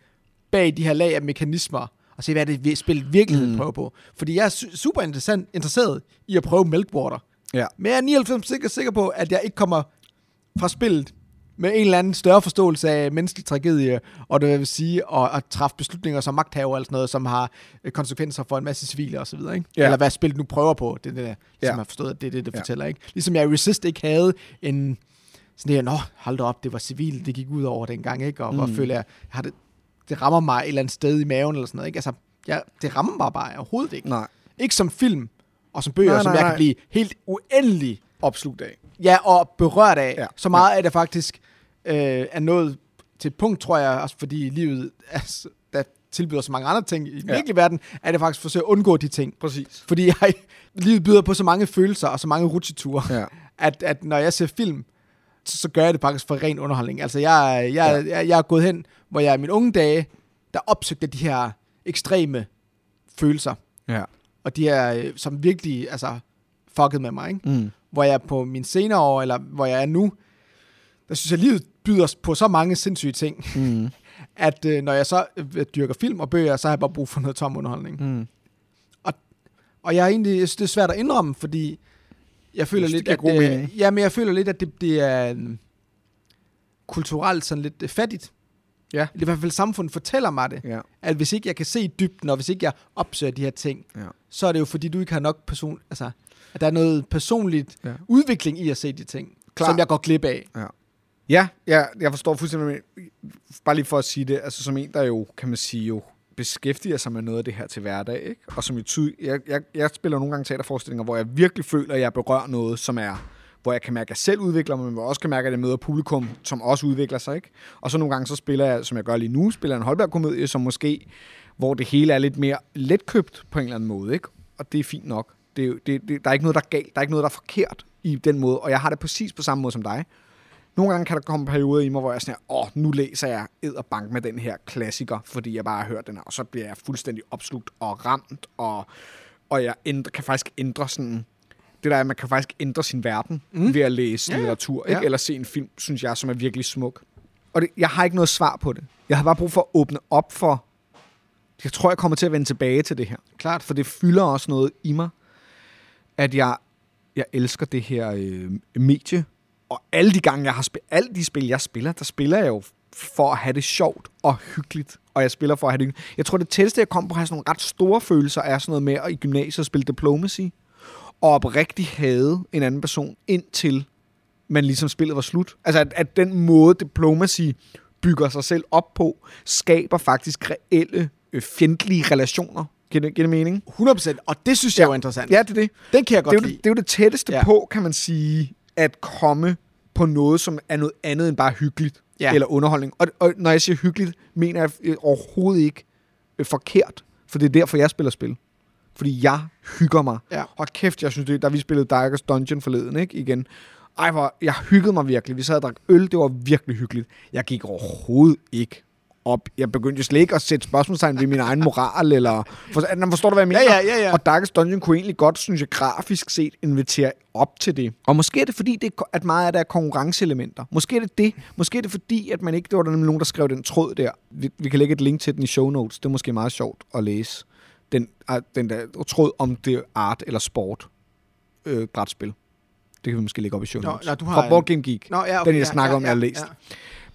[SPEAKER 1] bag de her lag af mekanismer, og se, hvad det vi- spil virkeligheden
[SPEAKER 2] Mm.
[SPEAKER 1] mm. prøver på? Fordi jeg er su- super interessant, interesseret i at prøve Meltwater.
[SPEAKER 2] Ja.
[SPEAKER 1] Men jeg er 99 sikker, sikker på, at jeg ikke kommer fra spillet med en eller anden større forståelse af menneskelig tragedie, og det vil sige at, at træffe beslutninger som magthaver eller sådan noget, som har øh, konsekvenser for en masse civile osv.
[SPEAKER 2] Ja.
[SPEAKER 1] Ja. Eller hvad spillet nu prøver på, det er det, der,
[SPEAKER 2] Ja.
[SPEAKER 1] ja. som har forstået, at det er det, det
[SPEAKER 2] Ja.
[SPEAKER 1] fortæller. Ikke? Ligesom jeg i Resist ikke havde en sådan der, nå, hold da op, det var civil, det gik ud over dengang, ikke? Og hvor
[SPEAKER 2] Mm.
[SPEAKER 1] føler jeg, jeg har det, det rammer mig et eller andet sted i maven eller sådan noget, ikke? Altså, jeg, det rammer mig bare overhovedet ikke.
[SPEAKER 2] Nej.
[SPEAKER 1] Ikke som film og som bøger,
[SPEAKER 2] Mm.
[SPEAKER 1] nej,
[SPEAKER 2] Nej,
[SPEAKER 1] som
[SPEAKER 2] nej,
[SPEAKER 1] jeg
[SPEAKER 2] nej.
[SPEAKER 1] kan blive helt uendelig
[SPEAKER 2] Opslugt af.
[SPEAKER 1] ja, og berørt af.
[SPEAKER 2] Ja.
[SPEAKER 1] Ja. Så meget, at jeg faktisk øh, er nået til et punkt, tror jeg, også fordi livet er, s- der tilbyder så mange andre ting i den
[SPEAKER 2] Ja.
[SPEAKER 1] virkelige verden, at jeg faktisk forsøger at undgå de ting.
[SPEAKER 2] Præcis.
[SPEAKER 1] Fordi jeg, livet byder på så mange følelser og så mange rutsjeture,
[SPEAKER 2] Ja.
[SPEAKER 1] at, at når jeg ser film, så, så gør jeg det faktisk for ren underholdning. Altså, jeg, jeg, ja. jeg, jeg, jeg er gået hen, hvor jeg i mine unge dage, der opsøgte de her ekstreme følelser,
[SPEAKER 2] Ja.
[SPEAKER 1] og de her, øh, som virkelig, altså, fuckede med mig, ikke?
[SPEAKER 2] Mm.
[SPEAKER 1] hvor jeg på mine senere år, eller hvor jeg er nu, der synes jeg, livet byder os på så mange sindssyge ting,
[SPEAKER 2] Mm.
[SPEAKER 1] at øh, når jeg så øh, dyrker film og bøger, så har jeg bare brug for noget tom underholdning.
[SPEAKER 2] Mm.
[SPEAKER 1] Og jeg er egentlig, jeg synes, det er svært at indrømme, fordi jeg føler
[SPEAKER 2] synes, det
[SPEAKER 1] lidt,
[SPEAKER 2] giver
[SPEAKER 1] at
[SPEAKER 2] god
[SPEAKER 1] det,
[SPEAKER 2] mening.
[SPEAKER 1] ja, men jeg føler lidt, at det, det er øhm, kulturelt sådan lidt øh, fattigt.
[SPEAKER 2] Ja.
[SPEAKER 1] Eller I hvert fald samfundet fortæller mig det,
[SPEAKER 2] Ja.
[SPEAKER 1] at hvis ikke jeg kan se dybden, og hvis ikke jeg opsøger de her ting,
[SPEAKER 2] Ja.
[SPEAKER 1] så er det jo fordi, du ikke har nok person, altså, at der er noget personligt
[SPEAKER 2] Ja.
[SPEAKER 1] ja. udvikling i at se de ting.
[SPEAKER 2] Klar.
[SPEAKER 3] som jeg går glip af.
[SPEAKER 2] Ja, ja, jeg forstår fuldstændig. hvad du mener. Bare lige for at sige det, altså som en, der jo, kan man sige jo, beskæftiger sig med noget af det her til hverdag, ikke? Og som jo tyd, jeg, jeg, jeg spiller nogle gange teaterforestillinger, hvor jeg virkelig føler, at jeg berører noget, som er, hvor jeg kan mærke, at jeg selv udvikler mig, men hvor jeg også kan mærke, at jeg møder publikum, som også udvikler sig, ikke? Og så nogle gange, så spiller jeg, som jeg gør lige nu, spiller jeg en Holberg-komedie, som måske, hvor det hele er lidt mere letkøbt på en eller anden måde, ikke? Og det er fint nok. Det, er jo- det, det, der er ikke noget, der er galt, der er ikke noget, der er forkert i den måde, og jeg har det præcis på samme måde som dig. Nogle gange kan der komme perioder i mig, hvor jeg er sådan her, åh, nu læser jeg bank med den her klassiker, fordi jeg bare har hørt den her, og så bliver jeg fuldstændig opslugt og ramt, og, og jeg ændre, kan faktisk ændre sådan, det der er, at man kan faktisk ændre sin verden mm. ved at læse ja, litteratur, ikke?
[SPEAKER 1] Ja.
[SPEAKER 2] Ja. eller se en film, synes jeg, som er virkelig smuk. Og det, jeg har ikke noget svar på det. Jeg har bare brug for at åbne op for, jeg tror, jeg kommer til at vende tilbage til det her. Klart. For det fylder også noget i mig, at jeg, jeg elsker det her øh, medie, og alle de gange, jeg har spillet, alle de spil, jeg spiller, der spiller jeg jo for at have det sjovt og hyggeligt. Og jeg spiller for at have det hyggeligt. Jeg tror, det tætteste, jeg kom på at have sådan nogle ret store følelser, er sådan noget med at i gymnasiet spille diplomacy. Og oprigtigt hade en anden person, indtil man ligesom spillet var slut. Altså, at, at den måde diplomacy bygger sig selv op på, skaber faktisk reelle øh, fjendtlige relationer. Giver det, giver det mening?
[SPEAKER 1] 100%, og det synes jeg ja. er interessant.
[SPEAKER 2] Ja, det er det.
[SPEAKER 1] Den kan jeg godt
[SPEAKER 2] Det er, jo
[SPEAKER 1] lide.
[SPEAKER 2] det, det er jo det tætteste
[SPEAKER 1] Ja.
[SPEAKER 2] ja. på, kan man sige, at komme på noget, som er noget andet end bare hyggeligt
[SPEAKER 1] Ja.
[SPEAKER 2] eller underholdning. Og, og når jeg siger hyggeligt, mener jeg øh, overhovedet ikke øh, forkert, for det er derfor, jeg spiller spil. Fordi jeg hygger mig.
[SPEAKER 1] Ja.
[SPEAKER 2] Og kæft, jeg synes det, da vi spillede Darkest Dungeon forleden, ikke? Igen. Ej, hvor, jeg hyggede mig virkelig. Vi sad og drak øl, det var virkelig hyggeligt. Jeg gik overhovedet ikke op. Jeg begyndte jo slet ikke at sætte spørgsmålstegn ved min egen moral, eller... For, Nå, forstår du, hvad jeg mener?
[SPEAKER 1] Ja, ja, ja, ja.
[SPEAKER 2] Og Darkest Dungeon kunne egentlig godt, synes jeg, grafisk set invitere op til det. Og måske er det fordi, det, er ko- at meget af det er konkurrenceelementer. Måske er det det. Måske er det fordi, at man ikke... Det var der nemlig nogen, der skrev den tråd der. Vi, vi kan lægge et link til den i show notes. Det er måske meget sjovt at læse. Den, ah, den der tråd om det er art eller sport øh, brætspil. Det kan vi måske lægge op i show
[SPEAKER 1] Nå,
[SPEAKER 2] notes.
[SPEAKER 1] nå, du har
[SPEAKER 2] Fra
[SPEAKER 1] en-
[SPEAKER 2] Board Game Geek.
[SPEAKER 1] Nå, ja,
[SPEAKER 2] den, jeg snakker om, jeg har læst.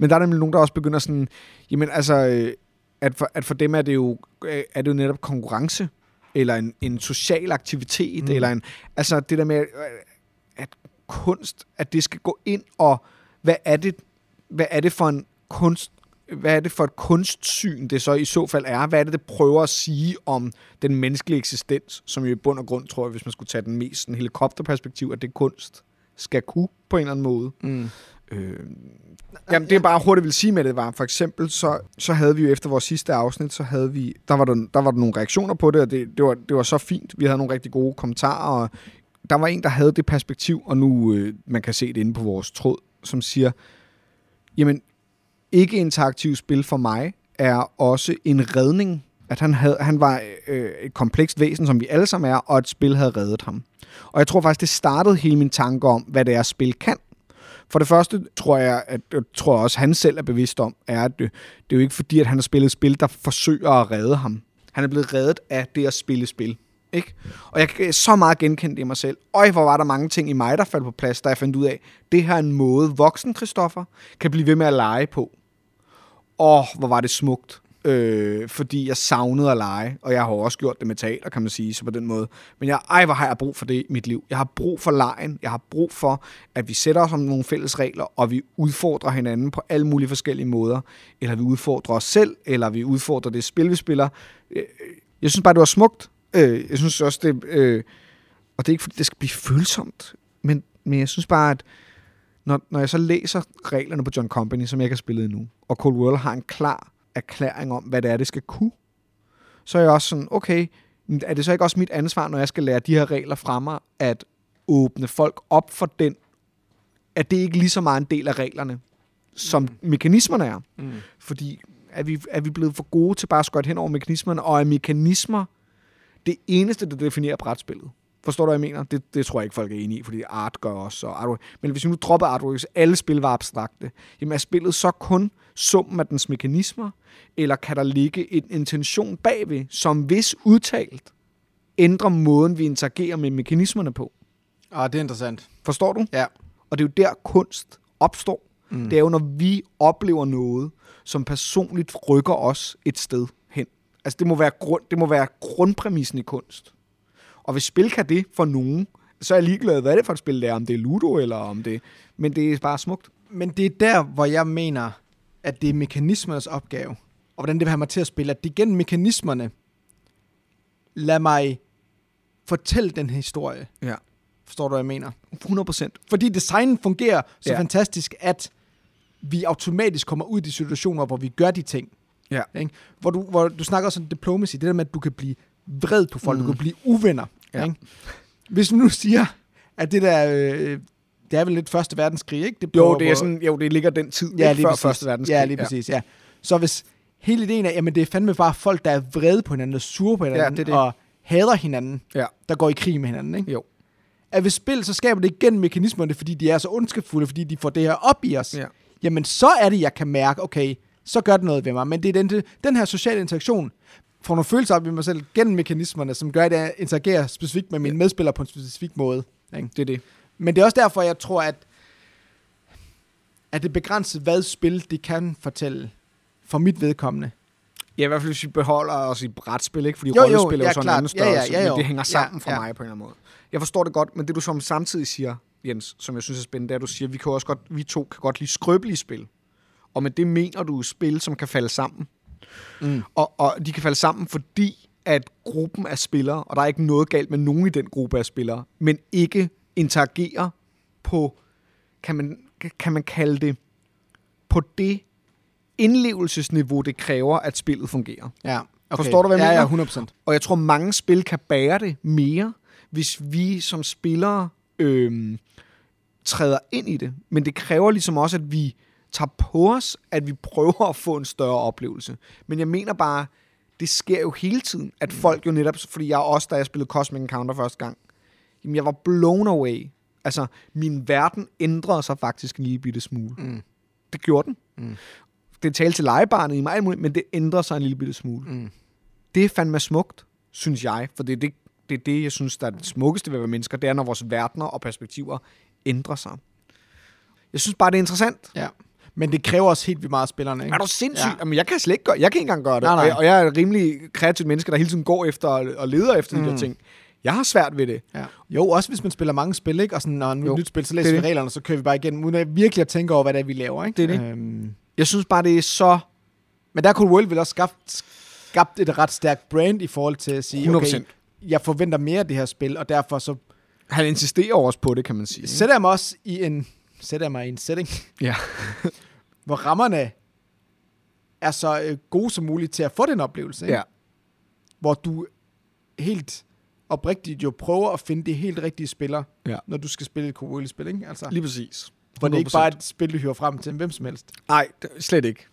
[SPEAKER 2] Men der er nemlig nogen, der også begynder sådan, jamen altså, øh, at for, at for dem er det jo, øh, er det jo netop konkurrence, eller en, en social aktivitet,
[SPEAKER 1] Mm.
[SPEAKER 2] mm. eller en, altså det der med, øh, at kunst, at det skal gå ind og, hvad er det, hvad er det for en kunst, hvad er det for et kunstsyn, det så i så fald er? Hvad er det, det prøver at sige om den menneskelige eksistens, som jo i bund og grund, tror jeg, hvis man skulle tage den mest sådan, helikopterperspektiv, at det kunst skal kunne på en eller anden måde.
[SPEAKER 1] Mm.
[SPEAKER 2] Øh, jamen, det er bare hurtigt vil sige med det var. For eksempel, så, så havde vi jo efter vores sidste afsnit, så havde vi, der var der, der, var der nogle reaktioner på det, og det, det, var, det var så fint. Vi havde nogle rigtig gode kommentarer, og der var en, der havde det perspektiv, og nu øh, man kan se det inde på vores tråd, som siger, jamen, ikke interaktiv spil for mig er også en redning. At han, havde, han var øh, et komplekst væsen, som vi alle sammen er, og et spil havde reddet ham. Og jeg tror faktisk, det startede hele min tanke om, hvad det er, spil kan. For det første tror jeg, at jeg tror jeg også, han selv er bevidst om, er, at det, det er jo ikke fordi, at han har spillet et spil, der forsøger at redde ham. Han er blevet reddet af det at spille spil. Ikke? Og jeg kan så meget genkende det i mig selv. Øj, hvor var der mange ting i mig, der faldt på plads, da jeg fandt ud af, det her er en måde, voksen Christoffer kan blive ved med at lege på. Åh, hvor var det smukt. Øh, fordi jeg savnede at lege, og jeg har jo også gjort det med teater, kan man sige, så på den måde. Men jeg, ej, hvor har jeg brug for det i mit liv. Jeg har brug for lejen. Jeg har brug for, at vi sætter os om nogle fælles regler, og vi udfordrer hinanden på alle mulige forskellige måder. Eller vi udfordrer os selv, eller vi udfordrer det spil, vi spiller. Øh, Jeg synes bare, det var smukt. Øh, Jeg synes også, det... Øh, og det er ikke, fordi det skal blive følsomt, men, men jeg synes bare, at når, når jeg så læser reglerne på John Company, som jeg ikke har spillet endnu, og Cold World har en klar erklæring om, hvad det er, det skal kunne, så er jeg også sådan, okay, men er det så ikke også mit ansvar, når jeg skal lære de her regler fra mig, at åbne folk op for den, at det ikke lige så meget en del af reglerne, som mm. mekanismerne er.
[SPEAKER 1] Mm.
[SPEAKER 2] Fordi er vi, er vi blevet for gode til bare at skøjte hen over mekanismerne, og er mekanismer det eneste, der definerer brætspillet? Forstår du, hvad jeg mener? Det, det tror jeg ikke, folk er enige i, fordi art gør også. Og artwork. Men hvis vi nu dropper artwork, så alle spil var abstrakte. Jamen er spillet så kun summen af dens mekanismer, eller kan der ligge en intention bagved, som hvis udtalt ændrer måden, vi interagerer med mekanismerne på?
[SPEAKER 1] Ah, det er interessant.
[SPEAKER 2] Forstår du?
[SPEAKER 1] Ja.
[SPEAKER 2] Og det er jo der, kunst opstår. Mm. Det er jo, når vi oplever noget, som personligt rykker os et sted hen. Altså, det må være, grund, det må være grundpræmissen i kunst. Og hvis spil kan det for nogen, så er jeg ligeglad, hvad det er for et spil, det er, om det er Ludo eller om det... Men det er bare smukt.
[SPEAKER 1] Men det er der, hvor jeg mener, at det er mekanismernes opgave, og hvordan det vil have mig til at spille, at det er gennem mekanismerne, lad mig fortælle den her historie.
[SPEAKER 2] Ja.
[SPEAKER 1] Forstår du, hvad jeg mener?
[SPEAKER 2] 100 procent.
[SPEAKER 1] Fordi designen fungerer så
[SPEAKER 2] Ja.
[SPEAKER 1] ja. fantastisk, at vi automatisk kommer ud i de situationer, hvor vi gør de ting.
[SPEAKER 2] Ja.
[SPEAKER 1] Ikke? Hvor, du, hvor du snakker også om diplomacy, det der med, at du kan blive vred på folk, mm.
[SPEAKER 2] Mm.
[SPEAKER 1] du kan blive uvenner.
[SPEAKER 2] Ja.
[SPEAKER 1] Ikke? Hvis man nu siger, at det der, øh, det er vel lidt første verdenskrig, ikke? Det
[SPEAKER 2] Jo,
[SPEAKER 1] prøver-
[SPEAKER 2] det er sådan, jo, det ligger den tid
[SPEAKER 1] ja,
[SPEAKER 2] ikke
[SPEAKER 1] lige
[SPEAKER 2] før
[SPEAKER 1] præcis.
[SPEAKER 2] Første Verdenskrig.
[SPEAKER 1] Ja, lige præcis, ja. ja. Så hvis hele ideen er, jamen det er fandme bare folk, der er vrede på hinanden, og sure på hinanden,
[SPEAKER 2] det er det.
[SPEAKER 1] og hader hinanden,
[SPEAKER 2] Ja.
[SPEAKER 1] der går i krig med hinanden, ikke?
[SPEAKER 2] Jo.
[SPEAKER 1] At ved spil, så skaber det igen mekanismerne, fordi de er så ondskabsfulde, fordi de får det her op i os.
[SPEAKER 2] Ja.
[SPEAKER 1] Jamen så er det, jeg kan mærke, okay, så gør det noget ved mig. Men det er den, den her sociale interaktion, får nogle følelser op i mig selv gennem mekanismerne, som gør, at jeg interagerer specifikt med mine ja. medspillere på en specifik måde. Ikke?
[SPEAKER 2] Det er det.
[SPEAKER 1] Men det er også derfor, jeg tror, at, at det begrænser, hvad spil det kan fortælle for mit vedkommende.
[SPEAKER 2] Ja, i hvert fald, hvis vi beholder os i brætspil, ikke? Fordi
[SPEAKER 1] Jo, jo,
[SPEAKER 2] rollespil er jo
[SPEAKER 1] ja,
[SPEAKER 2] sådan en
[SPEAKER 1] klart.
[SPEAKER 2] anden
[SPEAKER 1] Ja, ja,
[SPEAKER 2] størrelse,
[SPEAKER 1] ja,
[SPEAKER 2] men
[SPEAKER 1] jo.
[SPEAKER 2] det hænger
[SPEAKER 1] Ja,
[SPEAKER 2] sammen for
[SPEAKER 1] ja.
[SPEAKER 2] mig på en eller anden måde. Jeg forstår det godt, men det du som samtidig siger, Jens, som jeg synes er spændende, det er, at du siger, vi, kan jo også godt, vi to kan godt lide skrøbelige spil. Og med det mener du spil, som kan falde sammen.
[SPEAKER 1] Mm.
[SPEAKER 2] Og, og de kan falde sammen, fordi at gruppen af spillere, og der er ikke noget galt med nogen i den gruppe af spillere, men ikke interagerer på, kan man, kan man kalde det, på det indlevelsesniveau, det kræver, at spillet fungerer.
[SPEAKER 1] Ja. Okay.
[SPEAKER 2] Forstår du, hvad jeg
[SPEAKER 1] ja,
[SPEAKER 2] mener?
[SPEAKER 1] Ja, 100
[SPEAKER 2] Og jeg tror, mange spil kan bære det mere, hvis vi som spillere øhm, træder ind i det. Men det kræver ligesom også, at vi tager på os, at vi prøver at få en større oplevelse. Men jeg mener bare, det sker jo hele tiden, at folk jo netop, fordi jeg også, da jeg spillede Cosmic Encounter første gang, jamen jeg var blown away. Altså, min verden ændrede sig faktisk en lille bitte smule.
[SPEAKER 1] Mm.
[SPEAKER 2] Det gjorde den.
[SPEAKER 1] Mm.
[SPEAKER 2] Det talte til legebarnet i mig, alt muligt, men det ændrede sig en lille bitte smule
[SPEAKER 1] Mm.
[SPEAKER 2] det er fandme smukt, synes jeg, for det er det, det er det, jeg synes, der er det smukkeste ved at være mennesker, det er, når vores verdener og perspektiver ændrer sig. Jeg synes bare, det er interessant.
[SPEAKER 1] Ja. Men det kræver også helt vildt meget af spillerne, ikke?
[SPEAKER 2] Er du sindssyg? Ja.
[SPEAKER 1] Ja.
[SPEAKER 2] Jamen, jeg kan slet ikke gøre, jeg kan ikke engang gøre det.
[SPEAKER 1] Nej, nej.
[SPEAKER 2] Og, jeg, og jeg er et rimelig kreativt menneske, der hele tiden går efter og, og leder efter mm. de der ting. Jeg har svært ved det.
[SPEAKER 1] Ja. Jo, også hvis man spiller mange spil, ikke? Og sådan, når nu er
[SPEAKER 2] Jo.
[SPEAKER 1] et nyt spil, så
[SPEAKER 2] Det
[SPEAKER 1] læser
[SPEAKER 2] er
[SPEAKER 1] vi reglerne, og så kører vi bare igennem, uden at virkelig at tænke over, hvad det er, vi laver, ikke?
[SPEAKER 2] Det er det.
[SPEAKER 1] Øhm,
[SPEAKER 2] Jeg synes bare, det er så...
[SPEAKER 1] men der kunne World vel også skabt, skabt et ret stærkt brand i forhold til at sige, okay,
[SPEAKER 2] 100%.
[SPEAKER 1] jeg forventer mere af det her spil, og derfor så
[SPEAKER 2] Han insisterer også på det, kan man sige. ikke?
[SPEAKER 1] Mm. sætter jeg mig også i en, sætter jeg mig i en setting,
[SPEAKER 2] Ja.
[SPEAKER 1] hvor rammerne er så øh, gode som muligt til at få den oplevelse. Ikke?
[SPEAKER 2] ja.
[SPEAKER 1] Hvor du helt oprigtigt jo prøver at finde det helt rigtige spiller,
[SPEAKER 2] Ja.
[SPEAKER 1] når du skal spille et co-spil. Ikke? Altså,
[SPEAKER 2] Lige præcis.
[SPEAKER 1] hvor det ikke bare er et spil, du hører frem til hvem som helst.
[SPEAKER 2] Nej, slet ikke.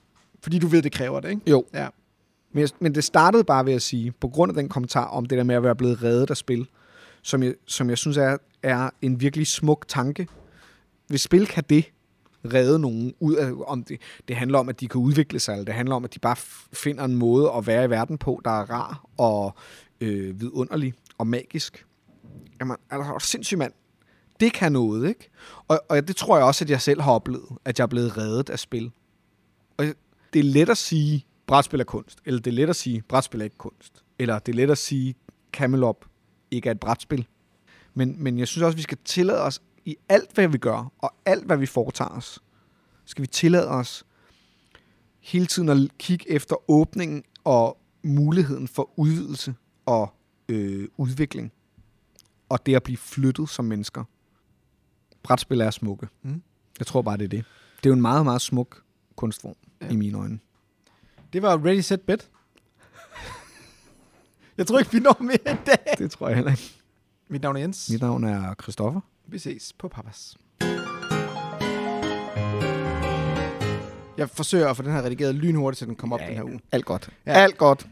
[SPEAKER 1] Fordi du ved, det kræver det. Ikke?
[SPEAKER 2] Jo.
[SPEAKER 1] Ja.
[SPEAKER 2] Men, jeg, men det startede bare ved at sige, på grund af den kommentar om det der med at være blevet reddet af spil, som jeg, som jeg synes er, er en virkelig smuk tanke. Hvis spil kan det redde nogen ud af, om det, det handler om, at de kan udvikle sig, eller det handler om, at de bare f- finder en måde at være i verden på, der er rar og øh, vidunderlig og magisk. Jamen, altså, sindssygt mand. Det kan noget, ikke? Og, og det tror jeg også, at jeg selv har oplevet, at jeg er blevet reddet af spil. Og det er let at sige, brætspil er kunst, eller det er let at sige, brætspil er ikke kunst, eller det er let at sige, Camelot ikke er et brætspil. Men, men jeg synes også, vi skal tillade os i alt, hvad vi gør, og alt, hvad vi foretager os, skal vi tillade os hele tiden at kigge efter åbningen og muligheden for udvidelse og øh, udvikling, og det at blive flyttet som mennesker. Brætspil er smukke.
[SPEAKER 1] Mm.
[SPEAKER 2] Jeg tror bare, det er det. Det er jo en meget, meget smuk kunstform
[SPEAKER 1] Ja.
[SPEAKER 2] ja. i mine øjne.
[SPEAKER 1] Det var Ready, Set, Bet. jeg tror ikke, vi når mere i dag.
[SPEAKER 2] Det tror jeg heller ikke.
[SPEAKER 1] Mit navn er Jens.
[SPEAKER 2] Mit navn er Christoffer.
[SPEAKER 1] Vi ses på Papas. Jeg forsøger at få den her redigeret lynhurtigt, så den kommer op den her uge.
[SPEAKER 2] Alt godt.
[SPEAKER 1] Ja.
[SPEAKER 2] Alt godt.